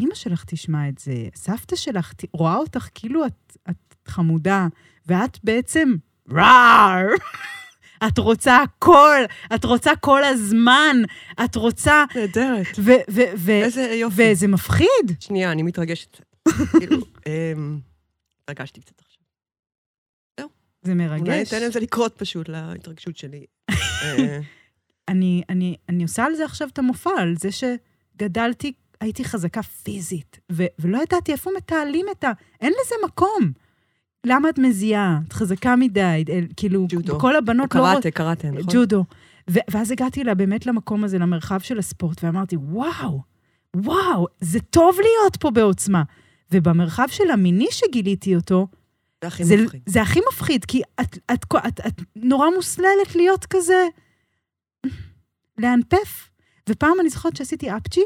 Speaker 2: אימא שלך תשמע את זה, סבתא שלך ת- רואה אותך כאילו את, את חמודה, ואת בעצם רער. את רוצה הכל, את רוצה כל הזמן, את רוצה...
Speaker 1: נהדרת.
Speaker 2: ו... ו... ו...
Speaker 1: איזה יופי.
Speaker 2: וזה מפחיד.
Speaker 1: אה, שנייה, אני מתרגשת קצת. כאילו, אמ, התרגשתי קצת עכשיו.
Speaker 2: זה מרגש.
Speaker 1: אולי ניתן לזה לקרות פשוט, להתרגשות שלי. אה,
Speaker 2: אני, אני, אני עושה על זה עכשיו את המופע, על זה שגדלתי, הייתי חזקה פיזית, ו, ולא ידעתי איפה מתעלים את ה... אין לזה מקום. למה את מזיעה? את חזקה מדי, אל- כאילו,
Speaker 1: ג'ודו.
Speaker 2: כל
Speaker 1: או
Speaker 2: הבנות לא... רוצ-
Speaker 1: קראטה, קראטה, נכון?
Speaker 2: ג'ודו. ו- ואז הגעתי לה, באמת למקום הזה, למרחב של הספורט, ואמרתי, וואו, וואו, זה טוב להיות פה בעוצמה. ובמרחב של המיני שגיליתי אותו,
Speaker 1: זה הכי
Speaker 2: זה,
Speaker 1: מפחיד.
Speaker 2: זה הכי מפחיד, כי את, את, את, את, את נורא מוסללת להיות כזה... לאנפף. ופעם אני זוכרת שעשיתי אפצ'י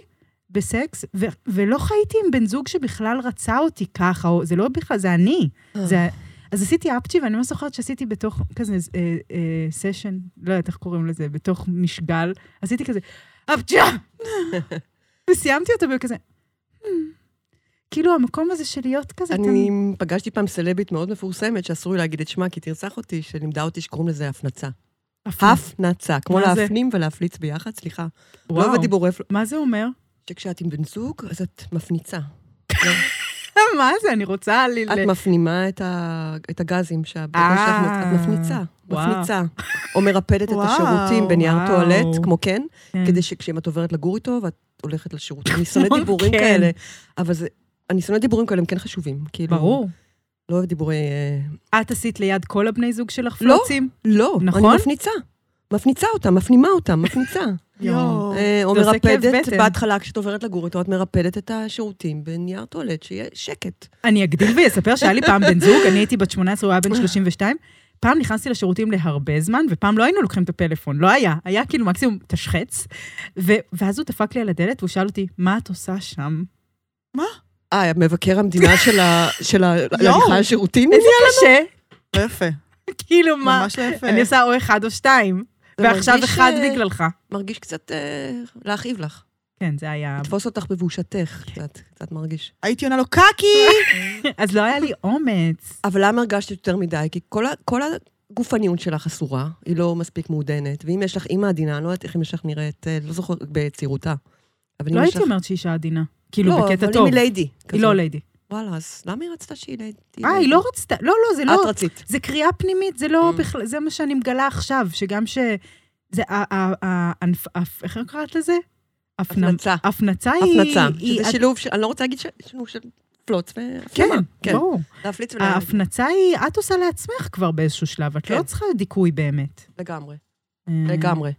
Speaker 2: בסקס, ו, ולא חייתי עם בן זוג שבכלל רצה אותי ככה, או זה לא בכלל, זה אני.
Speaker 1: אה.
Speaker 2: זה, אז עשיתי אפצ'י, ואני ממש זוכרת שעשיתי בתוך כזה אה, אה, סשן, לא יודעת איך קוראים לזה, בתוך משגל, עשיתי כזה, אפצ'יה! וסיימתי אותו בכזה... "Hmm." כאילו, המקום הזה של להיות כזה...
Speaker 1: אני פגשתי פעם סלבית מאוד מפורסמת, שאסור לי להגיד את שמה, כי תרצח אותי, שלימדה אותי שקוראים לזה הפנצה.
Speaker 2: אתה-
Speaker 1: הפנצה, כמו
Speaker 2: מה זה?
Speaker 1: להפנים ולהפליץ ביחד, סליחה.
Speaker 2: וואו.
Speaker 1: לא בדיבור אפל...
Speaker 2: מה זה אומר?
Speaker 1: שכשאת עם בן זוג, אז את מפניצה.
Speaker 2: מה זה? אני רוצה ל...
Speaker 1: את
Speaker 2: ל-
Speaker 1: מפנימה את ה- את הגזים שהבטן
Speaker 2: אה.
Speaker 1: שלך, מוצ- את מפניצה,
Speaker 2: וואו.
Speaker 1: מפניצה. או מרפדת את
Speaker 3: וואו,
Speaker 1: השירותים בנייר
Speaker 2: וואו.
Speaker 1: טואלט, כמו כן,
Speaker 2: כן.
Speaker 1: כדי שכשאת עוברת לגור איתו, ואת הולכת לשירותים. אני שונאת
Speaker 2: כמו
Speaker 1: דיבורים
Speaker 2: כן.
Speaker 1: כאלה, אבל זה... אני שונאת דיבורים כאלה, הם כן חשובים. כאילו,
Speaker 2: ברור.
Speaker 1: לא אוהב דיבורי... אה,
Speaker 2: את עשית ליד כל הבני זוג שלך
Speaker 1: לא.
Speaker 2: פלוצים?
Speaker 1: לא, נכון?
Speaker 2: נכון?
Speaker 1: אני מפניצה. מפניצה אותם, מפנימה אותם, מפניצה.
Speaker 2: יואו.
Speaker 1: אה, או
Speaker 2: זה עושה כאב
Speaker 1: מרפדת, אה.
Speaker 2: בטן.
Speaker 1: בהתחלה כשאת עוברת לגור איתו, את מרפדת את השירותים בנייר טואלט, שיהיה שקט.
Speaker 2: אני אגדיל ואספר שהיה לי פעם בן זוג, אני הייתי בת 18, הוא היה בן 32. פעם נכנסתי לשירותים להרבה זמן, ופעם לא היינו לוקחים את הפלאפון, לא היה. היה כאילו מקסימום תשחץ. ו- ואז הוא דפק לי על הדלת, והוא שאל אותי, מה את עושה שם?
Speaker 1: אה, מבקר המדינה של ה... של ה...
Speaker 3: יואו.
Speaker 1: הליכה לשירותים?
Speaker 2: איזה קשה.
Speaker 3: לא יפה.
Speaker 2: כאילו, מה?
Speaker 3: ממש לא יפה.
Speaker 2: אני עושה או אחד או שתיים,
Speaker 1: זה
Speaker 2: ועכשיו
Speaker 1: מרגיש,
Speaker 2: אחד
Speaker 1: אה,
Speaker 2: בגללך.
Speaker 1: מרגיש קצת אה, להכאיב לך.
Speaker 2: כן, זה היה...
Speaker 1: לתפוס אותך בבושתך, קצת, קצת מרגיש.
Speaker 3: הייתי עונה לו, קקי!
Speaker 2: אז לא היה לי אומץ.
Speaker 1: אבל למה הרגשת יותר מדי? כי כל, ה- כל הגופניות שלך אסורה, היא לא מספיק מעודנת, ואם יש לך אימא עדינה, אני לא יודעת איך אמא שלך נראית, אה, לא זוכרת, בצעירותה. אבל אם
Speaker 2: לא
Speaker 1: יש
Speaker 2: הייתי
Speaker 1: לך-
Speaker 2: אומרת שהיא אישה עדינה. כאילו, בקטע
Speaker 1: לא, אבל
Speaker 2: טוב.
Speaker 1: אם היא ליידי.
Speaker 2: היא
Speaker 1: כזאת.
Speaker 2: לא ליידי.
Speaker 1: וואלה, אז למה היא רצתה שהיא ליידי?
Speaker 2: אה, היא לא רצתה, לא, לא, זה לא...
Speaker 1: את רצית.
Speaker 2: זה קריאה פנימית, זה לא
Speaker 1: Mm.
Speaker 2: בכלל, זה מה שאני מגלה עכשיו, שגם ש... זה ה... ה- ה- הנפ- הפ- איך קראת לזה? הפנ-
Speaker 1: הפנצה.
Speaker 2: הפנצה אה, היא...
Speaker 1: הפנצה.
Speaker 2: היא-
Speaker 1: שזה שילוב, של- אני לא רוצה להגיד ש- שילוב של פלוץ
Speaker 2: כן,
Speaker 1: והפנמה.
Speaker 2: ברור.
Speaker 1: להפליץ ולהגיד.
Speaker 2: ההפנצה היא, את עושה לעצמך כבר באיזשהו שלב, את לא
Speaker 1: כן.
Speaker 2: צריכה דיכוי באמת.
Speaker 1: לגמרי,
Speaker 2: אה,
Speaker 1: לגמרי.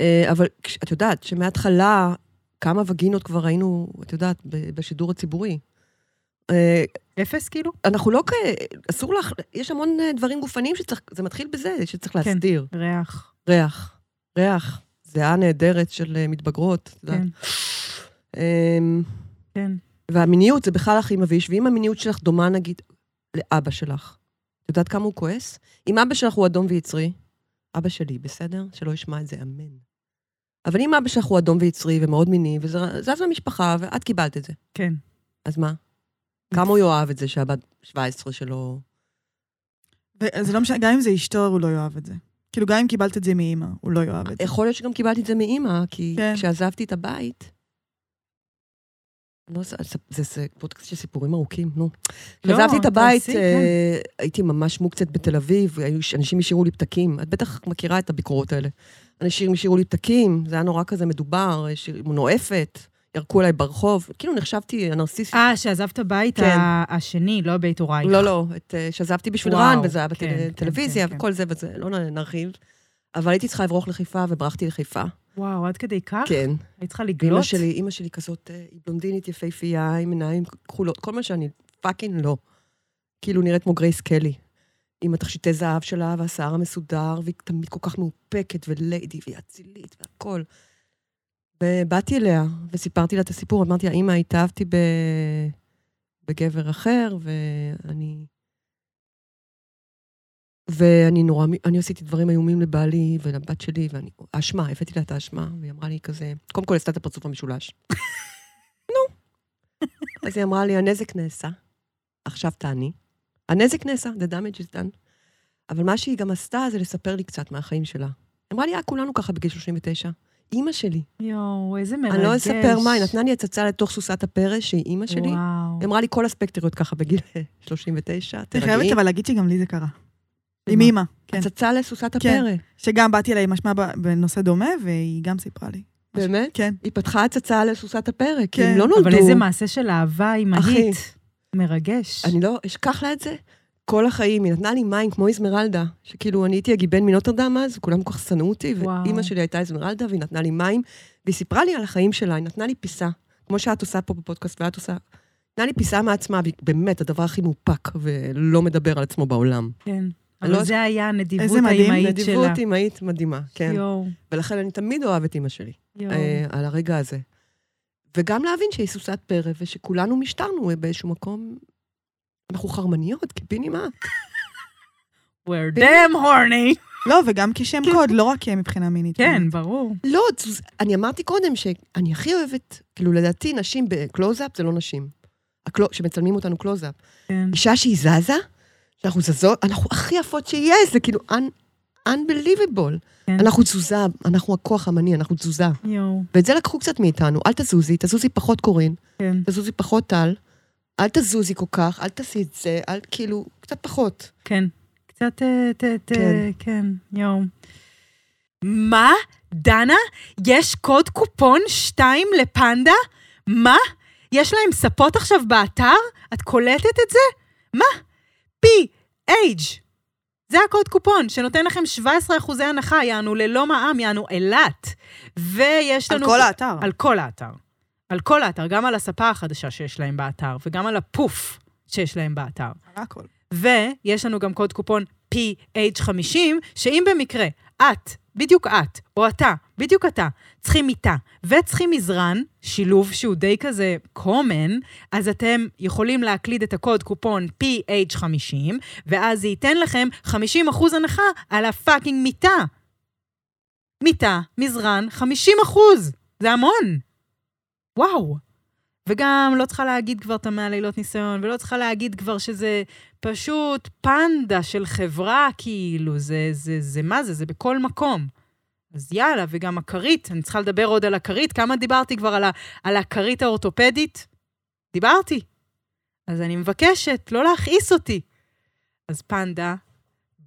Speaker 1: אה, אבל כש- את יודעת שמההתחלה, כמה וגינות כבר היינו, את יודעת, ב- בשידור הציבורי. אה,
Speaker 2: אפס כאילו?
Speaker 1: אנחנו לא כ... אסור לך, יש המון אה, דברים גופניים שצריך, זה מתחיל בזה, שצריך
Speaker 2: כן.
Speaker 1: להסדיר.
Speaker 2: ריח.
Speaker 1: ריח, ריח, זיעה נהדרת של אה, מתבגרות. את יודעת.
Speaker 2: כן,
Speaker 1: אמ,
Speaker 2: כן.
Speaker 1: והמיניות זה בכלל הכי מביש, ואם המיניות שלך דומה נגיד לאבא שלך, את יודעת כמה הוא כועס? אם אבא שלך הוא אדום ויצרי, אבא שלי, בסדר? שלא ישמע את זה, אמן. אבל אם אבא שלך הוא אדום ויצרי ומאוד מיני, וזה זז למשפחה, ואת קיבלת את זה,
Speaker 2: כן.
Speaker 1: אז מה? כמה הוא יאהב את זה שהבת 17 שלו...
Speaker 3: וזה לא משנה, גם אם זה אשתו, הוא לא יאהב את זה. כאילו, גם אם קיבלת את זה מאימא, הוא לא יאהב את זה.
Speaker 1: יכול להיות שגם קיבלתי את זה מאימא, כי
Speaker 3: כן.
Speaker 1: כשעזבתי את הבית... לא, זה, זה, זה פודקאסט של סיפורים ארוכים, נו.
Speaker 2: לא,
Speaker 1: כשעזבתי את הבית,
Speaker 2: תעשי, כן.
Speaker 1: אה, הייתי ממש מוקצת בתל אביב, היו ש- אנשים השאירו לי פתקים. את בטח מכירה את הביקורות האלה. אנשים השאירו לי פתקים, זה היה נורא כזה מדובר, ש- נואפת, ירקו עליי ברחוב. כאילו נחשבתי הנרסיסט.
Speaker 2: אה, שעזבת בית
Speaker 1: כן.
Speaker 2: ה- השני, לא בית הורייך.
Speaker 1: לא, לא, את, אה, שעזבתי בשביל
Speaker 2: וואו,
Speaker 1: רן, וזה היה
Speaker 2: כן, כן,
Speaker 1: בטלוויזיה,
Speaker 2: כן, כן.
Speaker 1: וכל זה וזה, לא נ- נרחיב. אבל הייתי צריכה לברוח לחיפה, וברחתי לחיפה.
Speaker 2: וואו, עד כדי כך?
Speaker 1: כן.
Speaker 2: היית צריכה
Speaker 1: אימא
Speaker 2: לגלות?
Speaker 1: שלי, אימא שלי כזאת, אה, היא בלונדינית יפהפייה, עם עיניים כחולות, כל מה שאני פאקינג לא. כאילו נראית כמו גרייס קלי. עם התכשיטי זהב שלה והשיער המסודר, והיא תמיד כל כך מאופקת וליידי והיא אצילית והכול. ובאתי אליה וסיפרתי לה את הסיפור, אמרתי לה, אימא, התאהבתי ב... בגבר אחר, ואני... ואני נורא, אני עשיתי דברים איומים לבעלי ולבת שלי, ואני, האשמה, הבאתי לה את האשמה, והיא אמרה לי כזה, קודם כל עשתה את הפרצוף המשולש. נו. אז היא אמרה לי, הנזק נעשה, עכשיו תעני. הנזק נעשה, the damage is done. אבל מה שהיא גם עשתה זה לספר לי קצת מהחיים שלה. היא אמרה לי, אה, כולנו ככה בגיל 39. אימא שלי.
Speaker 2: יואו, איזה מרגש.
Speaker 1: אני לא אספר מה, היא נתנה לי הצצה לתוך סוסת הפרא, שהיא אימא שלי.
Speaker 2: וואו.
Speaker 1: היא אמרה לי, כל הספקטריות ככה בגיל 39,
Speaker 3: אני
Speaker 1: תרגעי.
Speaker 3: חייבת אבל להגיד שגם לי זה קרה. עם
Speaker 2: מה?
Speaker 3: אימא, כן.
Speaker 1: הצצה לסוסת
Speaker 3: כן.
Speaker 1: הפרא.
Speaker 3: שגם באתי אליי עם אשמה ב- בנושא דומה, והיא גם סיפרה לי.
Speaker 1: באמת?
Speaker 3: כן.
Speaker 1: היא פתחה הצצה לסוסת הפרא, כי
Speaker 3: כן,
Speaker 1: הם לא נולדו.
Speaker 2: אבל איזה מעשה של אהבה אימהית.
Speaker 1: אחי.
Speaker 2: מרגש.
Speaker 1: אני לא אשכח לה את זה כל החיים. היא נתנה לי מים כמו איזמרלדה, שכאילו אני הייתי הגיבן מנוטרדם אז, וכולם כל כך שנאו אותי,
Speaker 2: וואו.
Speaker 1: ואימא שלי הייתה איזמרלדה, והיא נתנה לי מים, והיא סיפרה לי על החיים שלה, היא נתנה לי פיסה, כמו שאת עושה פה בפודקאסט, ואת עושה... נתנה לי פיסה מעצמה, והיא באמת הדבר הכי מאופק ולא מדבר על עצמו בעולם.
Speaker 2: כן.
Speaker 1: אני לא-
Speaker 2: אבל זה היה הנדיבות
Speaker 3: איזה מדהים,
Speaker 2: האימהית שלה.
Speaker 1: נדיבות אימהית מדהימה, כן.
Speaker 2: יואו,
Speaker 1: ולכן אני תמיד אוהבת אימא שלי.
Speaker 2: יואו.
Speaker 1: אה, על הרגע הזה. וגם להבין שהיא סוסת פרא, ושכולנו משטרנו באיזשהו מקום. אנחנו חרמניות, קיבינימט.
Speaker 2: We're damn horny.
Speaker 3: לא, וגם כשם קוד, לא רק מבחינה מינית.
Speaker 2: כאילו- כן, ברור.
Speaker 1: לא, זוז- אני אמרתי קודם שאני הכי אוהבת, כאילו, לדעתי, נשים בקלוזאפ זה לא נשים. הקלו- שמצלמים אותנו קלוזאפ.
Speaker 2: כן.
Speaker 1: אישה שהיא זזה, שאנחנו זזות, אנחנו הכי יפות שיש, זה כאילו un- unbelievable.
Speaker 2: כן.
Speaker 1: אנחנו תזוזה, אנחנו הכוח המני, אנחנו תזוזה.
Speaker 2: יואו,
Speaker 1: ואת זה לקחו קצת מאיתנו, אל תזוזי, תזוזי פחות קורין.
Speaker 2: כן.
Speaker 1: תזוזי פחות טל, אל תזוזי כל כך, אל תעשי את זה, אל כאילו, קצת פחות.
Speaker 2: כן. קצת, אה, ת, ת,
Speaker 1: כן.
Speaker 2: כן, יואו. מה? דנה? יש קוד קופון 2 לפנדה? מה? יש להם ספות עכשיו באתר? את קולטת את זה? מה? PH. זה הקוד קופון שנותן לכם 17% הנחה, יענו ללא מע"מ, יענו אילת. ויש
Speaker 3: על
Speaker 2: לנו...
Speaker 3: כל האתר.
Speaker 2: על כל האתר. על כל האתר, גם על הספה החדשה שיש להם באתר, וגם על הפוף שיש להם באתר.
Speaker 3: על הכל.
Speaker 2: ויש לנו גם קוד קופון PH50, שאם במקרה את בדיוק את, או אתה, בדיוק אתה, צריכים מיטה וצריכים מזרן, שילוב שהוא די כזה common, אז אתם יכולים להקליד את הקוד קופון PH50, ואז זה ייתן לכם 50% הנחה על הפאקינג מיטה. מיטה, מזרן, 50%. זה המון. וואו. וגם לא צריכה להגיד כבר את המאה לילות ניסיון, ולא צריכה להגיד כבר שזה פשוט פנדה של חברה, כאילו, זה, זה, זה מה זה, זה בכל מקום. אז יאללה, וגם הכרית, אני צריכה לדבר עוד על הכרית, כמה דיברתי כבר על, ה, על הכרית האורתופדית? דיברתי. אז אני מבקשת לא להכעיס אותי. אז פנדה,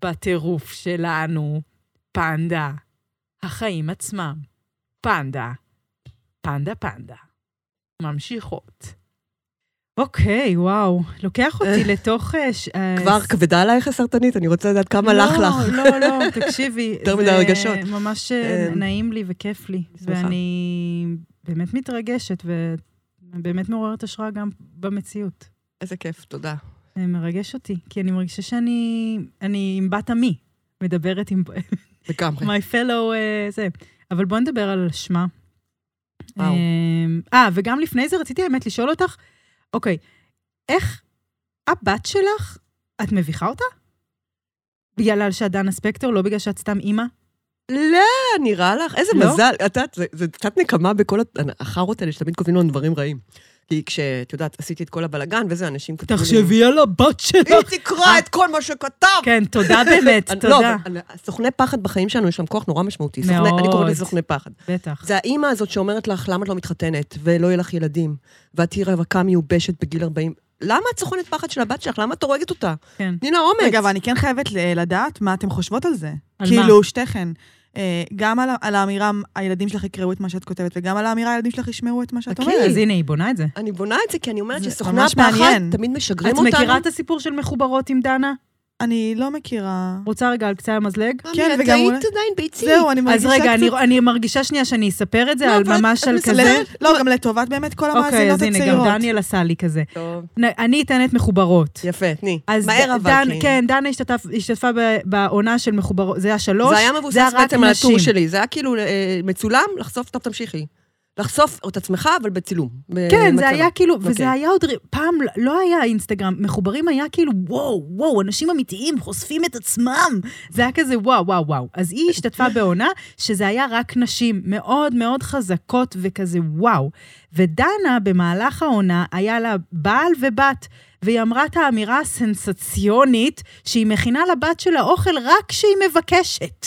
Speaker 2: בטירוף שלנו, פנדה. החיים עצמם, פנדה, פנדה פנדה. ממשיכות. אוקיי, וואו, לוקח אותי לתוך... אה, ש- אה,
Speaker 1: כבר כבדה עלייך הסרטנית? אני רוצה לדעת כמה לך לך.
Speaker 2: לא, לא, לא, תקשיבי.
Speaker 1: יותר מדי רגשות.
Speaker 2: זה ממש אה,
Speaker 1: אה,
Speaker 2: נעים לי וכיף לי.
Speaker 1: שמחה.
Speaker 2: ואני באמת מתרגשת ובאמת מעוררת השראה גם במציאות.
Speaker 1: איזה כיף, תודה.
Speaker 2: זה מרגש אותי, כי אני מרגישה שאני אני עם בת עמי, מדברת עם
Speaker 1: לגמרי.
Speaker 2: my fellow אה, זה. אבל בואו נדבר על שמה.
Speaker 1: וואו.
Speaker 2: אמ, אה, וגם לפני זה רציתי האמת לשאול אותך, אוקיי, איך הבת שלך, את מביכה אותה? בגלל שאת דנה ספקטר, לא בגלל שאת סתם אימא?
Speaker 1: לא, נראה לך, איזה
Speaker 2: לא?
Speaker 1: מזל. את יודעת, זה- זה קצת נקמה בכל הת- החארות האלה שתמיד כותבים לנו דברים רעים. כי כשאת יודעת, עשיתי את כל הבלגן וזה, אנשים כתבו לי...
Speaker 2: על הבת
Speaker 1: היא
Speaker 2: שלך.
Speaker 1: תקרא את כל מה שכתב!
Speaker 2: כן, תודה באמת,
Speaker 1: אני- לא,
Speaker 2: תודה.
Speaker 1: אבל אני- סוכני פחד בחיים שלנו, יש להם כוח נורא משמעותי. סוכני- אני
Speaker 2: מאוד.
Speaker 1: קוראת לזה סוכני פחד.
Speaker 2: בטח.
Speaker 1: זה האימא הזאת שאומרת לך, למה את לא מתחתנת, ולא יהיה לך ילדים, ואת תהיי רווקה מיובשת בגיל 40. למה את סוכנת פחד של הבת שלך? למה את הורגת אותה?
Speaker 2: כן.
Speaker 1: תני לה אומץ.
Speaker 3: רגע, אבל אני כן חייבת ל- לדעת מה אתם חושבות על זה.
Speaker 2: על
Speaker 3: כאילו, שתיכן. אה, גם על, ה- על האמירה, הילדים שלך יקראו את מה שאת כותבת, וגם על האמירה, הילדים שלך ישמעו את מה שאת
Speaker 1: אוקיי.
Speaker 3: אומרת.
Speaker 2: אז הנה, היא בונה את זה.
Speaker 1: אני בונה את זה כי אני אומרת
Speaker 3: זה
Speaker 1: שסוכני
Speaker 3: ממש
Speaker 1: הפחד
Speaker 3: מעניין.
Speaker 1: תמיד
Speaker 2: את
Speaker 1: משגרים אותנו.
Speaker 2: מכירה את הסיפור של מחוברות עם דנה?
Speaker 3: אני לא מכירה.
Speaker 2: רוצה רגע על קצה המזלג?
Speaker 3: כן,
Speaker 1: כן,
Speaker 3: וגם
Speaker 1: וגם...
Speaker 3: אולי-
Speaker 1: היית עדיין ביצית.
Speaker 3: זהו, אני מרגישה
Speaker 2: אוקיי. אז
Speaker 3: קצת...
Speaker 2: רגע, אני, אני מרגישה שנייה שאני אספר את זה,
Speaker 1: לא,
Speaker 2: על
Speaker 1: אבל את-
Speaker 2: ממש
Speaker 1: את
Speaker 2: על
Speaker 1: מספרת.
Speaker 2: כזה.
Speaker 3: לא, גם לטובת באמת כל
Speaker 2: אוקיי,
Speaker 3: המאזינות
Speaker 2: אז הנה,
Speaker 3: הצעירות.
Speaker 2: גם דניאל עשה לי כזה.
Speaker 1: טוב,
Speaker 2: נ- אני אתן את מחוברות.
Speaker 1: יפה, תני.
Speaker 2: אז
Speaker 1: מהר
Speaker 2: ד-
Speaker 1: אבל.
Speaker 2: דן,
Speaker 1: כי-
Speaker 2: כן, דנה השתתף, השתתפה ב- בעונה של מחוברות, זה היה שלוש,
Speaker 1: זה היה מבוסס
Speaker 2: רק
Speaker 1: בעצם על הטור
Speaker 2: נשים.
Speaker 1: שלי. זה היה כאילו אה, מצולם, לחשוף, טוב, תמשיכי. לחשוף את עצמך, אבל בצילום.
Speaker 2: כן,
Speaker 1: במצלמה.
Speaker 2: זה היה כאילו,
Speaker 1: אוקיי.
Speaker 2: וזה היה עוד, ר- פעם לא היה אינסטגרם, מחוברים היה כאילו, וואו, וואו, אנשים אמיתיים חושפים את עצמם. זה היה כזה וואו, וואו, וואו. אז היא השתתפה בעונה שזה היה רק נשים מאוד מאוד חזקות וכזה וואו. ודנה, במהלך העונה, היה לה בעל ובת, והיא אמרה את האמירה הסנסציונית שהיא מכינה לבת שלה אוכל רק כשהיא מבקשת.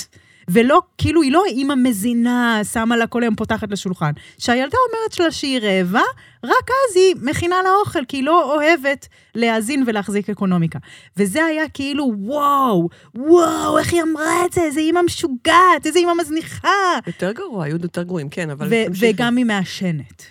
Speaker 2: ולא, כאילו, היא לא אימא מזינה, שמה לה כל היום פותחת לשולחן. שהילדה אומרת שלה שהיא רעבה, רק אז היא מכינה לה אוכל, כי היא לא אוהבת להאזין ולהחזיק אקונומיקה. וזה היה כאילו, וואו, וואו, איך היא אמרה את זה? איזה אימא משוגעת, איזה אימא מזניחה.
Speaker 1: יותר גרוע, היו יותר גרועים, כן, אבל...
Speaker 2: ו-
Speaker 1: תמשיכי. כן.
Speaker 2: וגם היא מעשנת.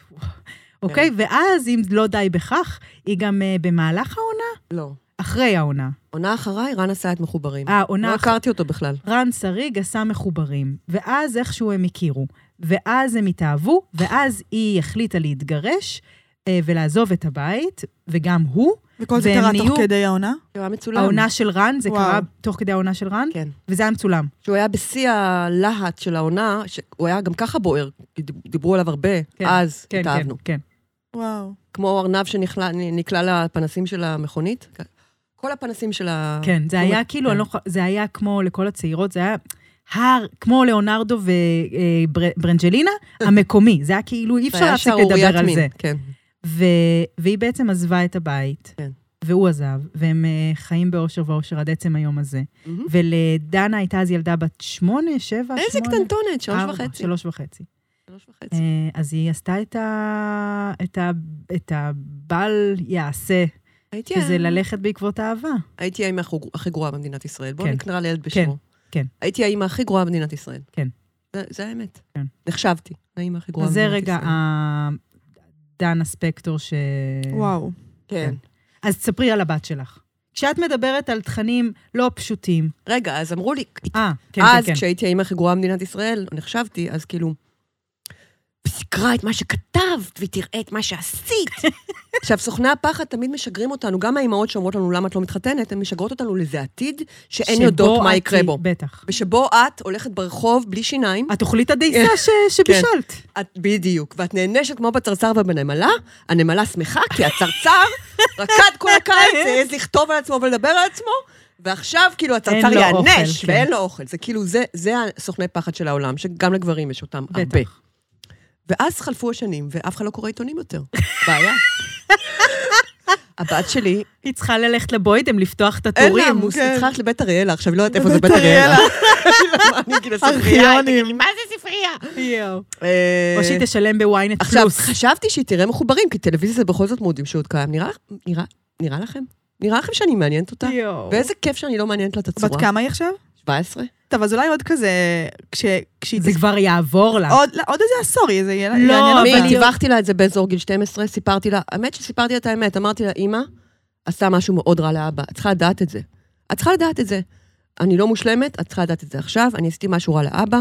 Speaker 2: אוקיי? ואז, אם לא די בכך, היא גם אה, במהלך העונה,
Speaker 1: לא.
Speaker 2: אחרי העונה.
Speaker 1: עונה אחריי, רן עשה את מחוברים.
Speaker 2: אה, עונה
Speaker 1: לא
Speaker 2: אחרי.
Speaker 1: הכרתי אותו בכלל.
Speaker 2: רן שריג עשה מחוברים, ואז איכשהו הם הכירו, ואז הם התאהבו, ואז היא החליטה להתגרש אה, ולעזוב את הבית, וגם הוא.
Speaker 3: וכל זה
Speaker 2: והם
Speaker 3: קרה
Speaker 2: נהיו-
Speaker 3: תוך כדי העונה?
Speaker 1: הוא היה מצולם.
Speaker 2: העונה של רן, זה
Speaker 3: וואו.
Speaker 2: קרה תוך כדי העונה של רן,
Speaker 1: כן.
Speaker 2: וזה היה מצולם.
Speaker 1: שהוא היה בשיא הלהט של העונה, שהוא היה גם ככה בוער, כי דיב- דיברו עליו הרבה,
Speaker 2: כן,
Speaker 1: אז
Speaker 2: כן, כן,
Speaker 1: התאהבנו.
Speaker 2: כן.
Speaker 3: וואו.
Speaker 1: כמו ארנב שנקלע לפנסים של המכונית, כל הפנסים של ה...
Speaker 2: כן, זה היה כאילו, אני לא יכולה- זה היה כמו לכל הצעירות, זה היה הר, כמו ליאונרדו וברנג'לינה, המקומי. זה היה כאילו,
Speaker 1: זה
Speaker 2: אי אפשר
Speaker 1: היה
Speaker 2: להפסיק
Speaker 1: שערוריית
Speaker 2: לדבר על
Speaker 1: מין,
Speaker 2: זה.
Speaker 1: כן.
Speaker 2: ו... והיא בעצם עזבה את הבית,
Speaker 1: כן.
Speaker 2: והוא עזב, והם אה, חיים באושר ואושר עד עצם היום הזה.
Speaker 1: מהמם.
Speaker 2: ולדנה הייתה אז ילדה בת שמונה, שבע,
Speaker 1: איזה
Speaker 2: שמונה,
Speaker 1: קטנטונת, שלוש
Speaker 2: ארבע,
Speaker 1: וחצי.
Speaker 2: שלוש וחצי.
Speaker 1: שלוש וחצי.
Speaker 2: אה, אז היא עשתה את, ה... את, ה... את הבל יעשה,
Speaker 1: הייתי
Speaker 2: אה, שזה
Speaker 1: ה-
Speaker 2: ללכת בעקבות אהבה.
Speaker 1: הייתי האמא הכי גרו- הכי גרועה במדינת ישראל. בואו
Speaker 2: כן.
Speaker 1: נקרא לילד
Speaker 2: כן,
Speaker 1: בשמו.
Speaker 2: כן.
Speaker 1: הייתי האמא הכי גרועה במדינת ישראל.
Speaker 2: כן.
Speaker 1: זה- זה האמת.
Speaker 2: כן.
Speaker 1: נחשבתי, האמא הכי גרועה
Speaker 2: אז זה
Speaker 1: במדינת
Speaker 2: רגע
Speaker 1: ישראל.
Speaker 2: ה... דנה ספקטור ש...
Speaker 3: וואו.
Speaker 1: כן.
Speaker 2: אז תספרי על הבת שלך. כשאת מדברת על תכנים לא פשוטים,
Speaker 1: רגע, אז אמרו לי,
Speaker 2: אה, כן,
Speaker 1: אז
Speaker 2: כן, כן.
Speaker 1: כשהייתי האמא הכי גרועה במדינת ישראל, נחשבתי, אז כאילו... ותקרא את מה שכתבת, ותראה את מה שעשית. עכשיו, סוכני הפחד תמיד משגרים אותנו, גם האימהות שאומרות לנו למה את לא מתחתנת, הן משגרות אותנו לאיזה עתיד שאין
Speaker 2: שבו
Speaker 1: יודעות מה
Speaker 2: את-
Speaker 1: יקרה בו.
Speaker 2: בטח.
Speaker 1: ושבו את הולכת ברחוב בלי שיניים,
Speaker 2: את אוכלי את
Speaker 1: כן.
Speaker 2: הדייסה ש- שבישלת.
Speaker 1: את בדיוק, ואת נענשת כמו בצרצר ובנמלה, הנמלה שמחה כי הצרצר רקד כל הקיץ, העז לכתוב על עצמו ולדבר על עצמו, ועכשיו כאילו
Speaker 2: אין
Speaker 1: הצרצר
Speaker 2: לו
Speaker 1: ייענש
Speaker 2: אוכל,
Speaker 1: ואין
Speaker 2: כן.
Speaker 1: לו אוכל. זה כאילו, זה- זה הסוכני פחד של העולם, שגם לגברים יש אותם הרבה.
Speaker 2: בטח.
Speaker 1: ואז חלפו השנים, ואף אחד לא קורא עיתונים יותר. בעיה. הבת שלי,
Speaker 2: היא צריכה ללכת לבוידם, לפתוח את
Speaker 1: אין לה
Speaker 2: התורים.
Speaker 1: עמוס,
Speaker 3: כן.
Speaker 1: היא צריכה ללכת לבית אריאלה, עכשיו היא לא יודעת איפה זה
Speaker 3: בבית
Speaker 1: בית אריאלה. אני כאילו ספרייה, היא תגיד לי, מה זה ספרייה?
Speaker 2: יואו.
Speaker 1: אה,
Speaker 2: או שהיא תשלם בוויינט
Speaker 1: עכשיו,
Speaker 2: פלוס.
Speaker 1: חשבתי שהיא תראה מחוברים, כי טלוויזיה זה בכל זאת מודים שעוד קיים. נראה- נראה- נראה לכם? נראה לכם שאני מעניינת אותה?
Speaker 2: יואו.
Speaker 1: ואיזה כיף שאני לא מעניינת לה את הצורה.
Speaker 3: בת כמה היא עכשיו?
Speaker 1: 17?
Speaker 3: טוב, אז אולי עוד כזה, כש... כשהיא...
Speaker 2: זה כבר יעבור לה.
Speaker 3: עוד, לא, עוד איזה עשור יהיה, זה יהיה
Speaker 2: אה. לא,
Speaker 3: יעניין
Speaker 2: אבל
Speaker 3: אותה.
Speaker 1: מי,
Speaker 2: היא-
Speaker 1: דיווחתי לה את זה באזור גיל 12, סיפרתי לה, האמת שסיפרתי לה את האמת, אמרתי לה, אמא, עשה משהו מאוד רע לאבא, את צריכה לדעת את זה. את צריכה לדעת את זה. אני לא מושלמת, את צריכה לדעת את זה עכשיו, אני עשיתי משהו רע לאבא.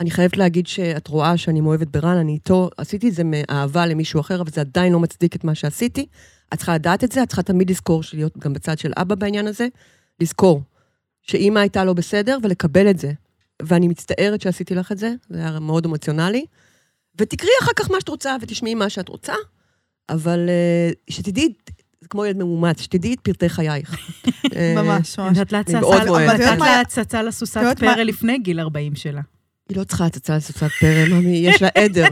Speaker 1: אני חייבת להגיד שאת רואה שאני מאוהבת ברן, אני איתו, עשיתי את זה מאהבה למישהו אחר, אבל זה עדיין לא מצדיק את מה שעשיתי. את צריכה לדעת את זה, את צריכה תמיד לזכור להיות גם בצד של אבא בעניין הזה, לזכור שאימא הייתה לא בסדר ולקבל את זה. ואני מצטערת שעשיתי לך את זה, זה היה מאוד אמוציונלי. ותקראי אחר כך מה שאת רוצה ותשמעי מה שאת רוצה, אבל אה, שתדעי, זה כמו ילד ממומץ, שתדעי את פרטי חייך. אה,
Speaker 3: ממש, ממש.
Speaker 2: נתת לה הצצה-
Speaker 1: מאוד אוהבת.
Speaker 2: אבל נתת
Speaker 3: יודעת
Speaker 2: לה
Speaker 3: מה-
Speaker 2: הצצה לסוסת
Speaker 3: יודעת מה-
Speaker 2: פרא לפני גיל 40 שלה.
Speaker 1: היא לא צריכה הצצה לסופת פרא, נעמי, יש לה עדר.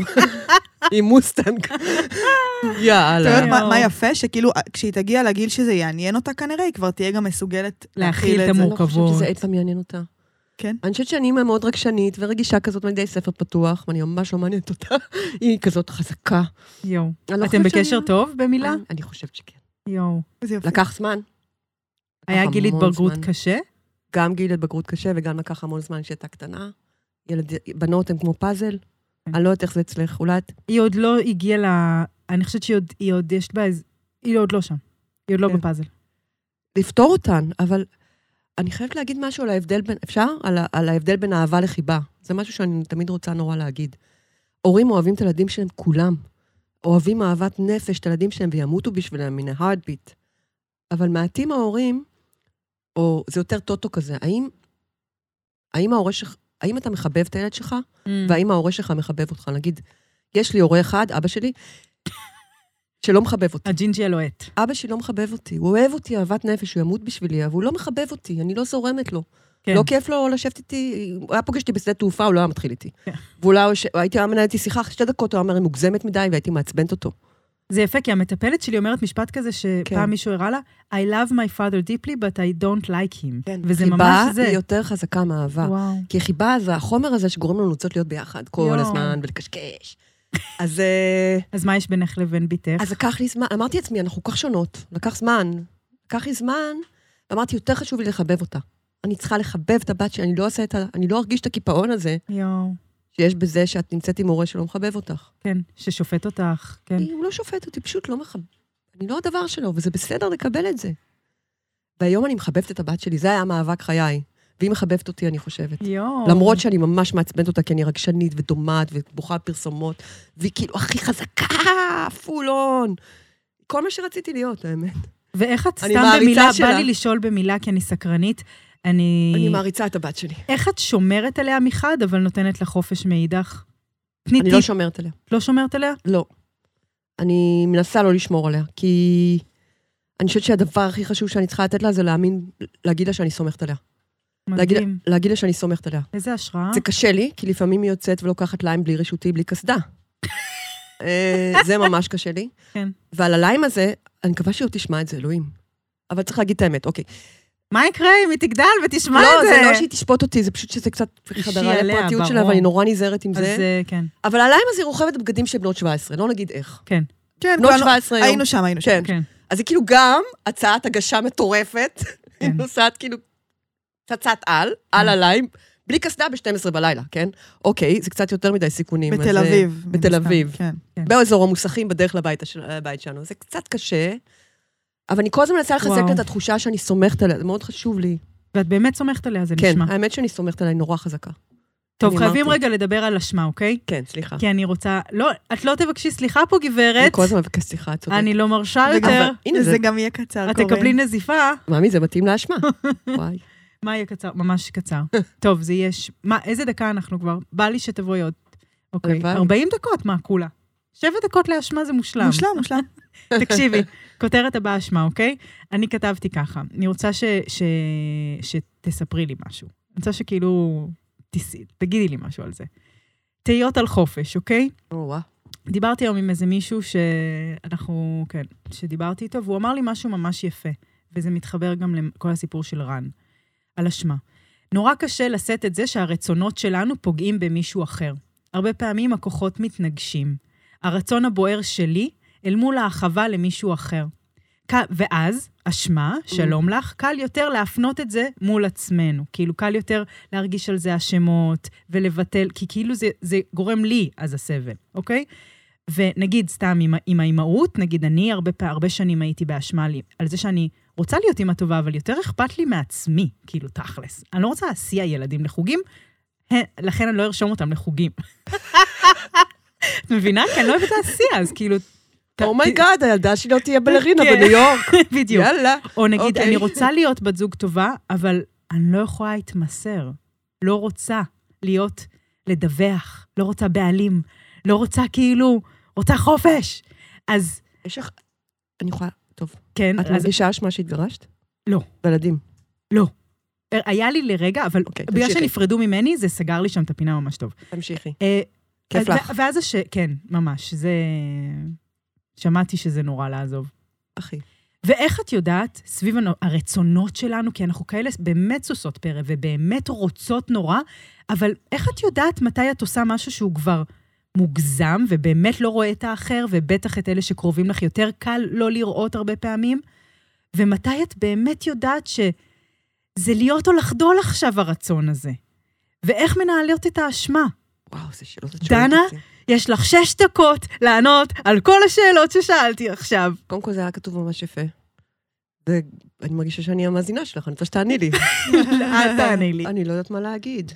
Speaker 1: היא מוסטנג.
Speaker 3: אתה יודעת
Speaker 1: יאללה. לא
Speaker 3: מה- מה
Speaker 2: יואו.
Speaker 3: יפה? שכאילו, אה, כשהיא תגיע לגיל שזה יעניין אותה כנראה, היא כבר תהיה גם מסוגלת
Speaker 2: להכיל
Speaker 3: להכיל
Speaker 2: את
Speaker 3: את זה.
Speaker 1: אני לא חושבת
Speaker 2: מורכבות.
Speaker 1: שזה אי פעם יעניין אותה.
Speaker 3: כן.
Speaker 1: אני חושבת שאני אימא מאוד רגשנית ורגישה כזאת מדי ספר פתוח, ואני ממש לא מעניינת אותה. היא כזאת חזקה.
Speaker 2: יואו.
Speaker 1: אני לא
Speaker 2: אתם
Speaker 1: חושבת
Speaker 2: בקשר
Speaker 1: שאני-
Speaker 2: טוב אוקיי. במילה?
Speaker 1: אני- אני חושבת שכן.
Speaker 2: יואו.
Speaker 3: איזה יופי.
Speaker 1: לקח זמן. לקח
Speaker 2: היה גיל
Speaker 1: המון
Speaker 2: התבגרות
Speaker 1: זמן.
Speaker 2: קשה?
Speaker 1: גם גיל התבגרות קשה וגם לקח המון זמן כשהייתה קטנה. ילד, בנות הן כמו פאזל.
Speaker 2: כן.
Speaker 1: אני לא יודעת איך זה אצלך, אולי את...
Speaker 2: היא עוד לא הגיעה ל... אני חושבת שהיא עוד- היא עוד, יש בה איזה... היא עוד לא שם. היא עוד לא
Speaker 3: כן.
Speaker 2: בפאזל.
Speaker 1: לפתור אותן, אבל אני חייבת להגיד משהו על ההבדל בין... אפשר? על, ה- על ההבדל בין אהבה לחיבה. זה משהו שאני תמיד רוצה נורא להגיד. הורים אוהבים את הילדים שלהם, כולם. אוהבים אהבת נפש את הילדים שלהם וימותו בשבילם מן ההארדביט. אבל מעטים ההורים, או זה יותר טוטו כזה, האם, האם, ההורה שלך- האם אתה מחבב את הילד שלך?
Speaker 2: Mm.
Speaker 1: והאם ההורה שלך מחבב אותך? נגיד, יש לי הורה אחד, אבא שלי, שלא מחבב אותי.
Speaker 2: הג'ינג'י הלוהט.
Speaker 1: אבא שלי לא מחבב אותי, הוא אוהב אותי אהבת נפש, הוא ימות בשבילי, אבל הוא לא מחבב אותי, אני לא זורמת לו.
Speaker 2: כן.
Speaker 1: לא כיף לו לשבת איתי, הוא היה פוגש אותי בשדה תעופה, הוא לא היה מתחיל איתי.
Speaker 2: כן.
Speaker 1: ואולי הוא ש- הייתי היה מנהל איתי שיחה, אחרי שתי דקות הוא היה אומר, היא מוגזמת מדי, והייתי מעצבנת אותו.
Speaker 2: זה יפה, כי המטפלת שלי אומרת משפט כזה
Speaker 1: כן.
Speaker 2: שפעם מישהו הראה לה, I love my father deeply, but I don't like him. וזה
Speaker 1: חיבה
Speaker 2: ממש זה.
Speaker 1: כן. היא יותר חזקה מאהבה.
Speaker 2: וואו.
Speaker 1: כי חיבה זה החומר הזה שגורם לנו לרצות להיות ביחד כל
Speaker 2: יואו.
Speaker 1: הזמן ולקשקש. אז אה,
Speaker 2: אז מה יש בינך לבין בתך?
Speaker 1: אז לקח לי זמן, אמרתי לעצמי, אנחנו כל כך שונות, לקח זמן. לקח לי זמן, ואמרתי, יותר חשוב לי לחבב אותה. אני צריכה לחבב את הבת שלי, אני לא אעשה את ה... אני לא ארגיש את הקיפאון הזה
Speaker 2: יואו.
Speaker 1: שיש בזה שאת נמצאת עם הורה שלא מחבב אותך.
Speaker 2: כן, ששופט אותך, כן.
Speaker 1: היא- הוא לא שופט אותי, פשוט לא מחבב. אני לא הדבר שלו, וזה בסדר לקבל את זה. והיום אני מחבבת את הבת שלי, זה היה מאבק חיי. והיא מחבבת אותי, אני חושבת.
Speaker 2: יואו.
Speaker 1: למרות שאני ממש מעצבנת אותה, כי אני רגשנית ודומעת ובוכה פרסומות, והיא כאילו הכי חזקה, פול און. כל מה שרציתי להיות, האמת.
Speaker 2: ואיך את
Speaker 1: אני
Speaker 2: סתם
Speaker 1: מעריצה
Speaker 2: במילה, בא
Speaker 1: שלה.
Speaker 2: לי לשאול במילה, כי אני סקרנית. אני...
Speaker 1: אני מעריצה את הבת שלי.
Speaker 2: איך את שומרת עליה מחד, אבל נותנת לה חופש מאידך? תני
Speaker 1: אני לא
Speaker 2: טיפ,
Speaker 1: שומרת עליה.
Speaker 2: לא שומרת עליה?
Speaker 1: לא. אני מנסה לא לשמור עליה, כי אני חושבת שהדבר הכי חשוב שאני צריכה לתת לה זה להאמין, להגיד לה שאני סומכת עליה. להגיד,
Speaker 2: מדהים.
Speaker 1: להגיד לה שאני סומכת עליה.
Speaker 2: איזה השראה.
Speaker 1: זה קשה לי, כי לפעמים היא יוצאת ולוקחת ליים בלי רשותי, בלי קסדה. אה, זה ממש קשה לי.
Speaker 2: כן.
Speaker 1: ועל הליים הזה, אני מקווה שהיא עוד תשמע את זה, אלוהים. אבל צריך להגיד את האמת, אוקיי.
Speaker 2: מה יקרה אם היא תגדל ותשמע
Speaker 1: לא,
Speaker 2: את
Speaker 1: זה
Speaker 2: זה?
Speaker 1: לא שהיא תשפוט אותי, זה פשוט שזה קצת
Speaker 2: אישי
Speaker 1: חדרה
Speaker 2: עליה,
Speaker 1: לפרטיות שלה,
Speaker 2: ברור.
Speaker 1: ואני נורא נזהרת עם
Speaker 2: אז
Speaker 1: זה.
Speaker 2: אה, כן.
Speaker 1: אבל על הליים הזה היא רוכבת בבגדים של בנות 17, לא נגיד איך.
Speaker 3: כן,
Speaker 2: לא
Speaker 1: בנות
Speaker 3: כולנו-
Speaker 1: 17 היום.
Speaker 3: היינו שם, היינו שם.
Speaker 1: כן.
Speaker 2: כן.
Speaker 1: אז היא כאילו גם הצעת הגשה מטורפת, היא
Speaker 2: כן.
Speaker 1: נוסעת כאילו פצצת על, על הליים, בלי קסדה ב-12 בלילה, כן? אוקיי, זה קצת יותר מדי סיכונים. אז,
Speaker 3: בתל
Speaker 1: אה,
Speaker 3: אביב. מן
Speaker 1: בתל
Speaker 3: הסתם,
Speaker 1: אביב.
Speaker 3: כן.
Speaker 1: באזור המוסכים בדרך לבית, הש- לבית שלנו. זה קצת קשה, אבל אני כל הזמן מנסה לחזק
Speaker 2: וואו.
Speaker 1: לה את התחושה שאני סומכת עליה, זה מאוד חשוב לי.
Speaker 2: ואת באמת סומכת עליה, זה
Speaker 1: כן,
Speaker 2: נשמע.
Speaker 1: האמת שאני סומכת עליה, היא נורא חזקה.
Speaker 2: טוב,
Speaker 1: אני
Speaker 2: חייבים
Speaker 1: אמרתי.
Speaker 2: רגע לדבר על אשמה, אוקיי?
Speaker 1: כן, סליחה.
Speaker 2: כי אני רוצה... לא, את לא תבקשי סליחה פה,
Speaker 1: אני
Speaker 2: גברת.
Speaker 1: כל הזמן מבקשת סליחה, את צודקת.
Speaker 2: אני לא מרשה
Speaker 3: וגם-
Speaker 2: יותר.
Speaker 1: הנה, זה-
Speaker 3: זה גם יהיה קצר,
Speaker 2: את
Speaker 3: קורן.
Speaker 2: תקבלי נזיפה.
Speaker 1: מאמי, זה מתאים לאשמה. וואי.
Speaker 2: מה יהיה קצר? ממש קצר. טוב, זה יש... מה, איזה דקה אנחנו כבר? בא לי שתבואי עוד. אוקיי,
Speaker 1: הלוואי.
Speaker 2: 40 דקות, מה, כולה? שבע דקות לאשמה זה מושלם.
Speaker 3: מושלם, מושלם.
Speaker 2: תקשיבי, כותרת הבאה אשמה, אוקיי? אני כתבתי ככה, אני רוצה ש, ש, שתספרי לי משהו. אני רוצה שכאילו, תס, תגידי לי משהו על זה. תהיות על חופש, אוקיי?
Speaker 1: או, וואו.
Speaker 2: דיברתי היום עם איזה מישהו שאנחנו, כן, שדיברתי איתו, והוא אמר לי משהו ממש יפה, וזה מתחבר גם לכל הסיפור של רן, על אשמה. נורא קשה לשאת את זה שהרצונות שלנו פוגעים במישהו אחר. הרבה פעמים הכוחות מתנגשים. הרצון הבוער שלי אל מול ההרחבה למישהו אחר. ק- ואז, אשמה, שלום לך, קל יותר להפנות את זה מול עצמנו. כאילו, קל יותר להרגיש על זה אשמות ולבטל, כי כאילו זה, זה גורם לי אז הסבל, אוקיי? ונגיד, סתם עם, ה- עם האימהות, נגיד, אני הרבה, פע- הרבה שנים הייתי באשמה לי, על זה שאני רוצה להיות אימא טובה, אבל יותר אכפת לי מעצמי, כאילו, תכלס. אני לא רוצה להסיע ילדים לחוגים, הן- לכן אני לא ארשום אותם לחוגים. את מבינה? כי אני לא אוהבת להסיע, אז כאילו... ת-
Speaker 1: אומייגאד, הילדה שלי לא תהיה בלרינה
Speaker 2: כן.
Speaker 1: בניו יורק.
Speaker 2: בדיוק.
Speaker 1: יאללה.
Speaker 2: או נגיד,
Speaker 1: אוקיי.
Speaker 2: אני רוצה להיות בת זוג טובה, אבל אני לא יכולה להתמסר. לא רוצה להיות, לדווח, לא רוצה בעלים, לא רוצה כאילו, רוצה חופש. אז
Speaker 1: יש לך... אני יכולה... טוב.
Speaker 2: כן,
Speaker 1: את
Speaker 2: אז
Speaker 1: מרגישה אשמה שהתגרשת?
Speaker 2: לא.
Speaker 1: ילדים.
Speaker 2: לא. היה לי לרגע, אבל
Speaker 1: אוקיי,
Speaker 2: בגלל
Speaker 1: תמשיכי.
Speaker 2: שנפרדו ממני, זה סגר לי שם את הפינה ממש טוב.
Speaker 1: תמשיכי.
Speaker 2: אה,
Speaker 1: כיף
Speaker 2: אז-
Speaker 1: לך.
Speaker 2: ו- ואז הש... כן, ממש, זה... שמעתי שזה נורא לעזוב.
Speaker 1: אחי.
Speaker 2: ואיך את יודעת, סביב הנו- הרצונות שלנו, כי אנחנו כאלה באמת סוסות פרא ובאמת רוצות נורא, אבל איך את יודעת מתי את עושה משהו שהוא כבר מוגזם ובאמת לא רואה את האחר, ובטח את אלה שקרובים לך יותר קל לא לראות הרבה פעמים? ומתי את באמת יודעת שזה להיות או לחדול עכשיו הרצון הזה? ואיך מנהלות את האשמה?
Speaker 1: וואו, זה שאלות את
Speaker 2: דנה?
Speaker 1: שואלת את זה.
Speaker 2: יש לך שש דקות לענות על כל השאלות ששאלתי עכשיו.
Speaker 1: קודם כל, זה היה כתוב ממש יפה. ואני מרגישה שאני המאזינה שלך, אני רוצה שתעני לי.
Speaker 2: אל תעני לי.
Speaker 1: אני לא יודעת מה להגיד.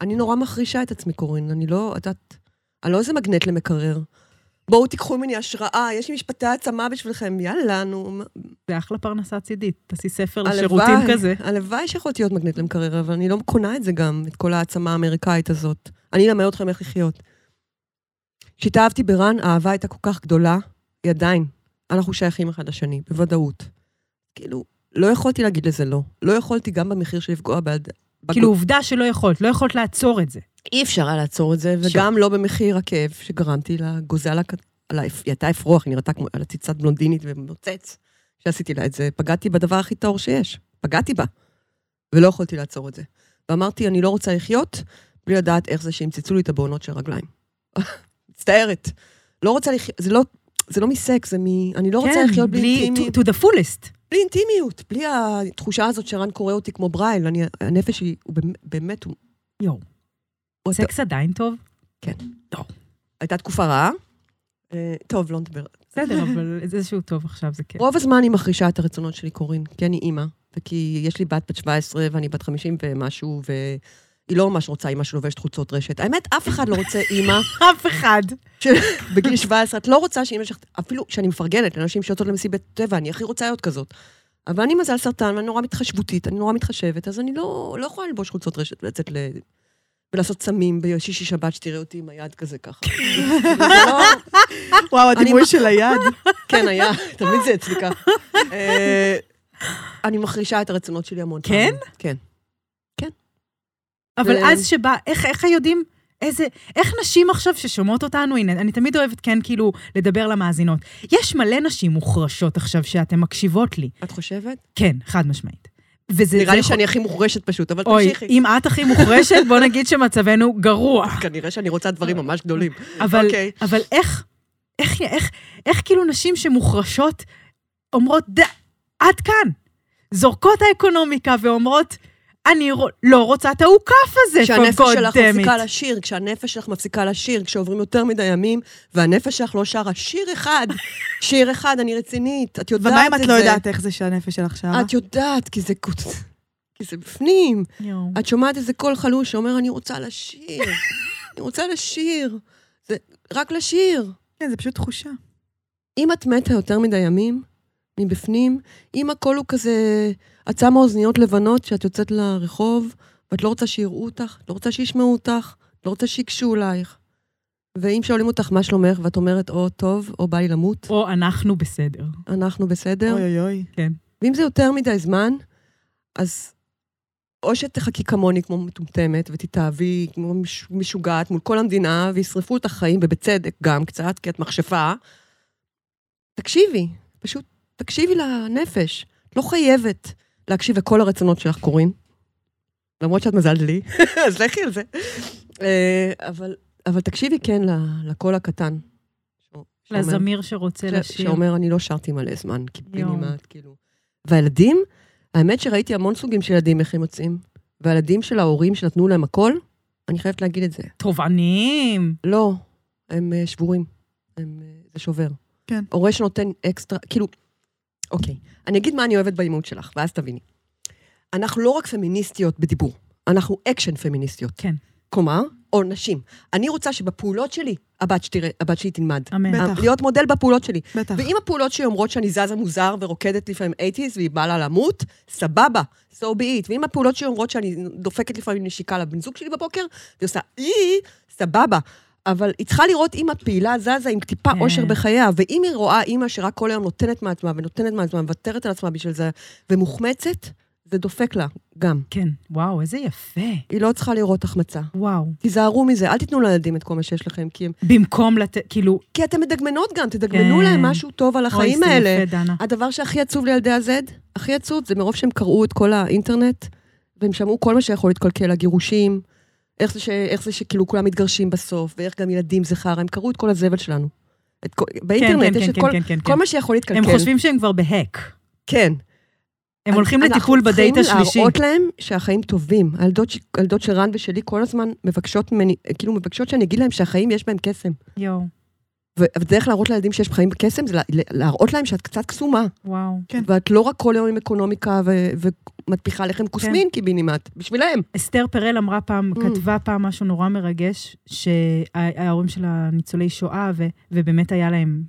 Speaker 1: אני נורא מחרישה את עצמי, קורין. אני לא, את יודעת, אני לא איזה מגנט למקרר. בואו תיקחו ממני השראה, יש לי משפטי העצמה בשבילכם, יאללה, נו. מה-
Speaker 2: זה אחלה פרנסה צידית. תעשי ספר
Speaker 1: הלוואי,
Speaker 2: לשירותים כזה.
Speaker 1: הלוואי שיכולתי להיות מגנט למקרר, אבל אני לא קונה את זה גם, את כל העצמה האמריקאית הזאת. אני אלמד אתכם איך לחיות. כשהתאהבתי ברן, האהבה הייתה כל כך גדולה, היא עדיין. אנחנו שייכים אחד לשני, בוודאות. כאילו, לא יכולתי להגיד לזה לא. לא יכולתי גם במחיר של לפגוע בעד...
Speaker 2: כאילו, עובדה שלא יכולת, לא יכולת לעצור את זה.
Speaker 1: אי אפשר היה לעצור את זה, וגם לא במחיר הכאב שגרמתי לגוזל, הכ- על האפ- היא הייתה אפרוח, היא נראתה כמו על עציצת בלונדינית ומוצץ. כשעשיתי לה את זה, פגעתי בדבר הכי טהור שיש. פגעתי בה. ולא יכולתי לעצור את זה. ואמרתי, אני לא רוצה לחיות בלי לדעת איך זה שימצצו לי את הבעונות של הרגליים. מצטערת. לא רוצה לחיות, זה לא... זה לא מסקס, זה מ... אני לא
Speaker 2: כן,
Speaker 1: רוצה לחיות בלי אינטימיות.
Speaker 2: to, to the fullest.
Speaker 1: בלי אינטימיות, בלי התחושה הזאת שרן קורא אותי כמו ברייל. אני, הנפש היא, הוא באמת- באמת, הוא...
Speaker 2: יואו,
Speaker 1: הוא-
Speaker 2: סקס עדיין טוב?
Speaker 1: הייתה תקופה רעה. אה, טוב, לא נדבר.
Speaker 2: בסדר, אבל זה שהוא טוב עכשיו, זה כן. כיף.
Speaker 1: רוב הזמן אני מחרישה את הרצונות שלי, קורין, כי אני אימא, וכי יש לי בת בת 17 ואני בת 50 ומשהו, והיא לא ממש רוצה אימא שלובשת חולצות רשת. האמת, אף אחד לא רוצה אימא
Speaker 2: אף אחד.
Speaker 1: בגיל 17. את לא רוצה שאימא שלך, אפילו שאני מפרגנת לאנשים שיוצאות למסיבת טבע, אני הכי רוצה להיות כזאת. אבל אני מזל סרטן, ואני נורא מתחשבותית, אני נורא מתחשבת, אז אני לא, לא יכולה ללבוש חולצות רשת ולצאת ל... ולעשות סמים בשישי שבת, שתראה אותי עם היד כזה ככה. זה לא...
Speaker 3: וואו,
Speaker 1: אני
Speaker 3: הדימוי
Speaker 1: מה-
Speaker 3: של היד.
Speaker 1: כן, היה, תמיד זה אצלי ככה. אה, אני מחרישה את הרצונות שלי המון
Speaker 2: כן?
Speaker 1: פעמים. כן?
Speaker 2: אבל
Speaker 1: זה-
Speaker 2: אז שבא, איך, איך יודעים, איזה, איך נשים עכשיו ששומעות אותנו, הנה, אני תמיד אוהבת, כן, כאילו, לדבר למאזינות. יש מלא נשים מוחרשות עכשיו שאתן מקשיבות לי.
Speaker 1: את חושבת?
Speaker 2: כן, חד משמעית. וזה...
Speaker 1: נראה
Speaker 2: זה
Speaker 1: לי
Speaker 2: יכול-
Speaker 1: שאני הכי מוחרשת פשוט, אבל
Speaker 2: אוי,
Speaker 1: תמשיכי.
Speaker 2: אם את הכי מוחרשת, בוא נגיד שמצבנו גרוע.
Speaker 1: כנראה שאני רוצה דברים ממש גדולים.
Speaker 2: אבל,
Speaker 1: אוקיי.
Speaker 2: okay. אבל איך, איך, איך, איך כאילו נשים שמוחרשות אומרות, ד... עד כאן, זורקות האקונומיקה ואומרות, אני ר... לא רוצה את האוכף הזה,
Speaker 1: כשהנפש
Speaker 2: for God
Speaker 1: שלך
Speaker 2: damn
Speaker 1: מפסיקה
Speaker 2: it.
Speaker 1: לשיר, כשהנפש שלך מפסיקה לשיר, כשעוברים יותר מדי ימים, והנפש שלך לא שרה שיר אחד, שיר אחד, אני רצינית, את לא יודעת את זה.
Speaker 3: ומה אם את לא יודעת איך זה שהנפש שלך שרה?
Speaker 1: את יודעת, כי זה... קוט- כי זה בפנים.
Speaker 2: יואו.
Speaker 1: את שומעת איזה קול חלוש שאומר, אני רוצה לשיר, אני רוצה לשיר. זה רק לשיר.
Speaker 3: כן, זה פשוט תחושה.
Speaker 1: אם את מתה יותר מדי ימים, מבפנים, אם הקול הוא כזה, את שמה אוזניות לבנות כשאת יוצאת לרחוב, ואת לא רוצה שיראו אותך, את לא רוצה שישמעו אותך, את לא רוצה שיגשו אלייך. ואם שואלים אותך מה שלומך, ואת אומרת, או טוב, או בא לי למות,
Speaker 2: או אנחנו בסדר.
Speaker 1: אנחנו בסדר.
Speaker 3: אוי אוי אוי.
Speaker 1: ואם זה יותר מדי זמן, אז או שתחכי כמוני כמו מטומטמת ותתאהבי כמו מש- משוגעת מול כל המדינה, וישרפו אותך חיים, ובצדק גם קצת, כי את מכשפה. תקשיבי, פשוט תקשיבי לנפש. את לא חייבת להקשיב לכל הרצונות שלך קורים. למרות שאת מזלת לי, אז לכי על זה. אה, אבל, אבל תקשיבי כן ל- לקול הקטן. שאומר-
Speaker 2: לזמיר שרוצה
Speaker 1: ש-
Speaker 2: לשיר.
Speaker 1: שאומר, אני לא שרתי מלא זמן, כי
Speaker 2: יואו.
Speaker 1: בנימט, כאילו. והילדים, האמת שראיתי המון סוגים של ילדים, איך הם יוצאים. והילדים של ההורים שנתנו להם הכל, אני חייבת להגיד את זה.
Speaker 2: תובעניים.
Speaker 1: לא, הם אה, שבורים. הם, אה, זה שובר.
Speaker 3: כן.
Speaker 1: הורה שנותן אקסטרה, כאילו, אוקיי, אני אגיד מה אני אוהבת באימהות שלך, ואז תביני. אנחנו לא רק פמיניסטיות בדיבור, אנחנו אקשן פמיניסטיות.
Speaker 2: כן.
Speaker 1: כלומר, או נשים. אני רוצה שבפעולות שלי, הבת, שתראה, הבת שלי תלמד.
Speaker 2: אמן.
Speaker 3: בטח.
Speaker 1: להיות מודל בפעולות שלי.
Speaker 3: בטח.
Speaker 1: ואם הפעולות שלי אומרות שאני זזה מוזר ורוקדת לפעמים 80's והיא באה לה למות, סבבה, so be it. ואם הפעולות שלי אומרות שאני דופקת לפעמים נשיקה לבן זוג שלי בבוקר, והיא עושה אי, סבבה. אבל היא צריכה לראות אם הפעילה זזה עם טיפה
Speaker 2: כן.
Speaker 1: אושר בחייה, ואם היא רואה אימא שרק כל היום נותנת מעצמה ונותנת מעצמה ומוותרת על עצמה בשביל זה, ומוחמצת, זה דופק לה גם.
Speaker 2: כן. וואו, איזה יפה.
Speaker 1: היא לא צריכה לראות החמצה.
Speaker 2: וואו.
Speaker 1: תיזהרו מזה, אל תיתנו לילדים את כל מה שיש לכם, כי, הם,
Speaker 2: במקום לתת, כאילו,
Speaker 1: כי אתם מדגמנות גם, תדגמנו
Speaker 2: כן.
Speaker 1: להם משהו טוב על החיים
Speaker 2: אוי,
Speaker 1: האלה.
Speaker 2: זה יפה, דנה.
Speaker 1: הדבר שהכי עצוב לילדי ה-Z, הכי עצוב, זה מרוב שהם קראו את כל האינטרנט, והם שמעו כל מה שיכול להתקלקל, הגירושים, איך זה, ש, איך זה שכאילו כולם מתגרשים בסוף, ואיך גם ילדים זה חרא, הם קראו את כל הזבל שלנו. את, כל- באינטרנט
Speaker 2: כן,
Speaker 1: יש
Speaker 2: כן,
Speaker 1: את
Speaker 2: כן,
Speaker 1: כל,
Speaker 2: כן, כן,
Speaker 1: כל
Speaker 2: כן.
Speaker 1: מה שיכול להתקלקל.
Speaker 2: הם חושבים שהם כבר בהק.
Speaker 1: כן.
Speaker 2: הם הולכים
Speaker 1: אנחנו
Speaker 2: לטיפול בדייט השלישי.
Speaker 1: צריכים להראות להם שהחיים טובים. הילדות, ש- הילדות של רן ושלי כל הזמן מבקשות ממני, כאילו מבקשות שאני אגיד להם שהחיים יש בהם קסם.
Speaker 2: יואו,
Speaker 1: ו- ודרך להראות לילדים שיש חיים קסם זה לה- להראות להם שאת קצת קסומה.
Speaker 2: וואו.
Speaker 3: כן.
Speaker 1: ואת לא רק כל היום עם אקונומיקה ו- ומדפיחה לחם כוסמין קיבינימט, בשבילם.
Speaker 2: אסתר פרל אמרה פעם,
Speaker 1: Mm.
Speaker 2: כתבה פעם משהו נורא מרגש, שההורים שלה ניצולי שואה, ו, ובאמת היה להם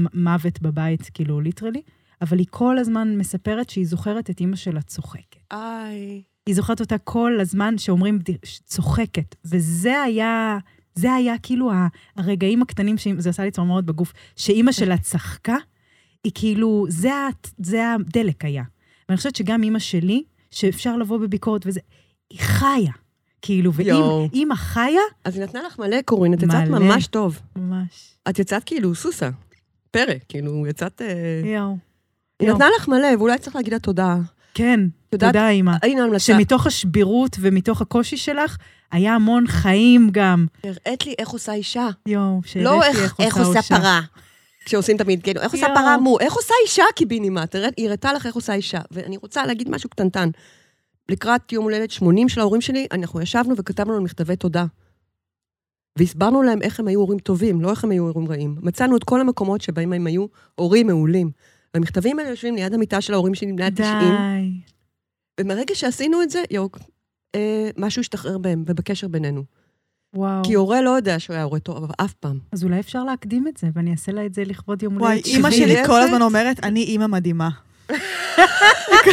Speaker 2: מ- מוות בבית, כאילו, ליטרלי, אבל היא כל הזמן מספרת שהיא זוכרת את אימא שלה צוחקת.
Speaker 1: איי.
Speaker 2: היא זוכרת אותה כל הזמן שאומרים בדי- ש- צוחקת, וזה היה... זה היה כאילו ה- הרגעים הקטנים, ש- זה עשה לי צמרמורת בגוף, שאימא שלה צחקה, היא כאילו, זה, ה- זה הדלק היה. ואני חושבת שגם אימא שלי, שאפשר לבוא בביקורת וזה, היא חיה. כאילו,
Speaker 1: יואו.
Speaker 2: ואם אימא חיה,
Speaker 1: אז היא נתנה לך מלא, קורין, את יצאת
Speaker 2: מלא.
Speaker 1: ממש טוב.
Speaker 2: ממש.
Speaker 1: את יצאת כאילו סוסה, פרק, כאילו, יצאת... אה,
Speaker 2: יואו.
Speaker 1: היא נתנה לך מלא, ואולי צריך להגיד לה תודה.
Speaker 2: כן,
Speaker 1: יודעת-
Speaker 2: תודה, אימא.
Speaker 1: הנה המלצה.
Speaker 2: שמתוך השבירות ומתוך הקושי שלך, היה המון חיים גם.
Speaker 1: הראית לי איך עושה אישה.
Speaker 2: יואו, שהראיתי
Speaker 1: לא איך איך עושה
Speaker 2: אישה.
Speaker 1: פרה. כשעושים תמיד, כאילו, איך עושה
Speaker 2: יואו.
Speaker 1: פרה מו, איך עושה אישה קיבינימט? הראת- היא הראתה לך איך עושה אישה. ואני רוצה להגיד משהו קטנטן. לקראת יום הולדת 80 של ההורים שלי, אנחנו ישבנו וכתבנו להם מכתבי תודה. והסברנו להם איך הם היו הורים טובים, לא איך הם היו הורים רעים. מצאנו את כל המקומות שבהם הם היו הורים מעולים. והמכתבים האלה יושבים ליד המיטה של ההורים שלי, ליד 90,
Speaker 2: די.
Speaker 1: ומרגע שעשינו את זה, יוק, אה, משהו השתחרר בהם ובקשר בינינו.
Speaker 2: וואו.
Speaker 1: כי הורה לא יודע שהוא היה הורה טוב, אבל אף פעם.
Speaker 2: אז אולי אפשר להקדים את זה, ואני אעשה לה את זה לכבוד יום הולדת.
Speaker 3: וואי,
Speaker 2: שבעים.
Speaker 3: אימא שלי
Speaker 1: יפת.
Speaker 3: כל הזמן אומרת, אני אימא מדהימה.
Speaker 1: אוקיי.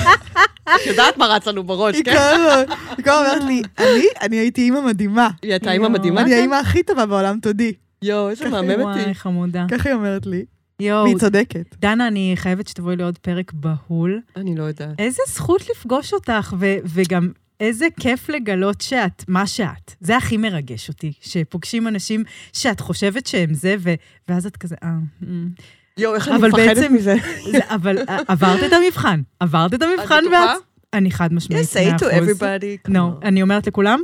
Speaker 1: את יודעת מה רץ לנו בראש, כן?
Speaker 3: היא כל הזמן היא כל הזמן אומרת לי, אני? אני הייתי אימא מדהימה.
Speaker 1: היא הייתה אימא מדהימה? כן.
Speaker 3: אני האימא הכי טובה בעולם, תודי.
Speaker 1: יואו, איזה מהממת היא.
Speaker 2: וואי, חמודה.
Speaker 1: כן,
Speaker 3: ככה היא אומרת לי.
Speaker 2: יואו,
Speaker 3: והיא צודקת.
Speaker 2: דנה, אני חייבת שתבואי לעוד פרק בהול.
Speaker 1: אני לא יודעת.
Speaker 2: איזה זכות לפגוש אותך, ו- וגם איזה כיף לגלות שאת, מה שאת. זה הכי מרגש אותי, שפוגשים אנשים שאת חושבת שהם זה, ו- ואז את כזה, אה... אמ."
Speaker 1: יואו, איך
Speaker 2: אני אבל מפחדת בעצם-
Speaker 1: מזה.
Speaker 2: זה- אבל אה, עברת את המבחן, עברת את המבחן
Speaker 1: בטוחה?
Speaker 2: אני חד משמעית,
Speaker 1: Yes, say to
Speaker 2: 100%.
Speaker 1: everybody.
Speaker 2: No, אני אומרת לכולם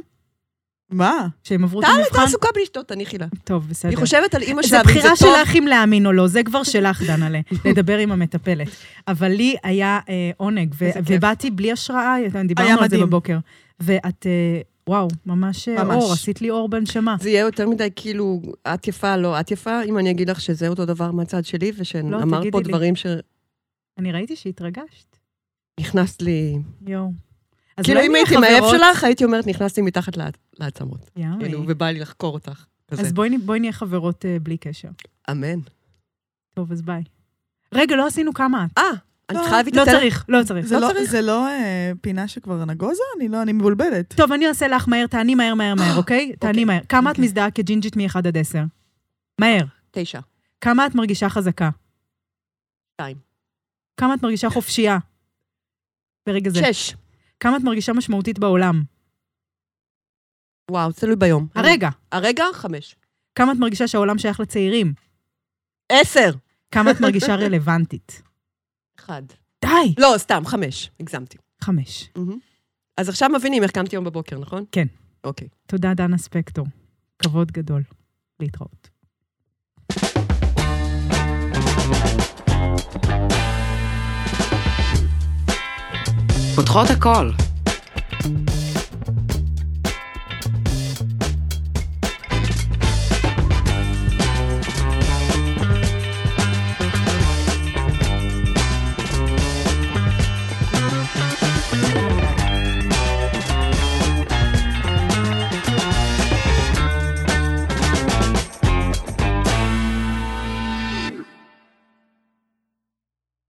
Speaker 3: מה?
Speaker 2: שהם עברו את
Speaker 1: טל הייתה
Speaker 2: המבחן.
Speaker 1: עסוקה בלשתות, תניחי לה.
Speaker 2: טוב, בסדר.
Speaker 1: היא חושבת על אימא
Speaker 2: זו
Speaker 1: שלה, וזה
Speaker 2: בחירה
Speaker 1: טוב.
Speaker 2: שלך אם להאמין או לא, זה כבר שלך, דנה'לה, לדבר עם המטפלת. אבל לי היה אה, עונג, ו-
Speaker 1: איזה כיף.
Speaker 2: ובאתי בלי השראה,
Speaker 3: היה
Speaker 2: דיברנו על זה
Speaker 3: מדהים.
Speaker 2: בבוקר. ואת, אה, וואו, ממש אה,
Speaker 3: ממש.
Speaker 2: אור, עשית לי אור בנשמה.
Speaker 1: זה יהיה יותר מדי כאילו, את יפה, לא את יפה, אם אני אגיד לך שזה אותו דבר מהצד שלי,
Speaker 2: לא,
Speaker 1: ושאמרת פה
Speaker 2: תגידי לי.
Speaker 1: דברים
Speaker 2: אני ראיתי שהתרגשת.
Speaker 1: שנכנסת לי...
Speaker 2: יואו. אז
Speaker 1: כאילו,
Speaker 2: אולי
Speaker 1: אם
Speaker 2: נהיה
Speaker 1: הייתי עם האב
Speaker 2: חברות-
Speaker 1: שלך, הייתי אומרת, נכנסתי מתחת לעצ- לעצמות.
Speaker 2: יאי.
Speaker 1: כאילו, ובא לי לחקור אותך. כזה.
Speaker 2: אז בואי נ- בואי נהיה חברות אה, בלי קשר.
Speaker 1: אמן.
Speaker 2: טוב, אז ביי. רגע, לא עשינו כמה את.
Speaker 1: אה, אני
Speaker 3: לא,
Speaker 1: צריכה להביא את
Speaker 2: לא
Speaker 1: הטלפון.
Speaker 2: צריך, לא צריך.
Speaker 3: זה
Speaker 1: לא
Speaker 3: לא-
Speaker 1: צריך.
Speaker 3: זה לא אה, פינה שכבר נגוזה? אני לא, אני מבולבלת.
Speaker 2: טוב, אני אעשה לך מהר, תעני מהר, מהר, מהר, אוקיי? תעני מהר. כמה את
Speaker 3: אוקיי.
Speaker 2: מזדהה כג'ינג'ית מ-1 עד 10? מהר.
Speaker 1: תשע.
Speaker 2: כמה את מרגישה חזקה?
Speaker 1: שתיים.
Speaker 2: כמה את מרגישה חופשייה? ברגע זה.
Speaker 1: שש.
Speaker 2: כמה את מרגישה משמעותית בעולם?
Speaker 1: וואו, זה תלוי ביום.
Speaker 2: הרגע.
Speaker 1: הרגע, חמש.
Speaker 2: כמה את מרגישה שהעולם שייך לצעירים?
Speaker 1: עשר.
Speaker 2: כמה את מרגישה רלוונטית?
Speaker 1: אחד.
Speaker 2: די!
Speaker 1: לא, סתם, חמש. הגזמתי.
Speaker 2: חמש.
Speaker 1: אז עכשיו מבינים איך קמתי היום בבוקר, נכון?
Speaker 2: כן.
Speaker 1: אוקיי.
Speaker 2: תודה, דנה ספקטור. כבוד גדול. להתראות.
Speaker 4: פותחות הכל.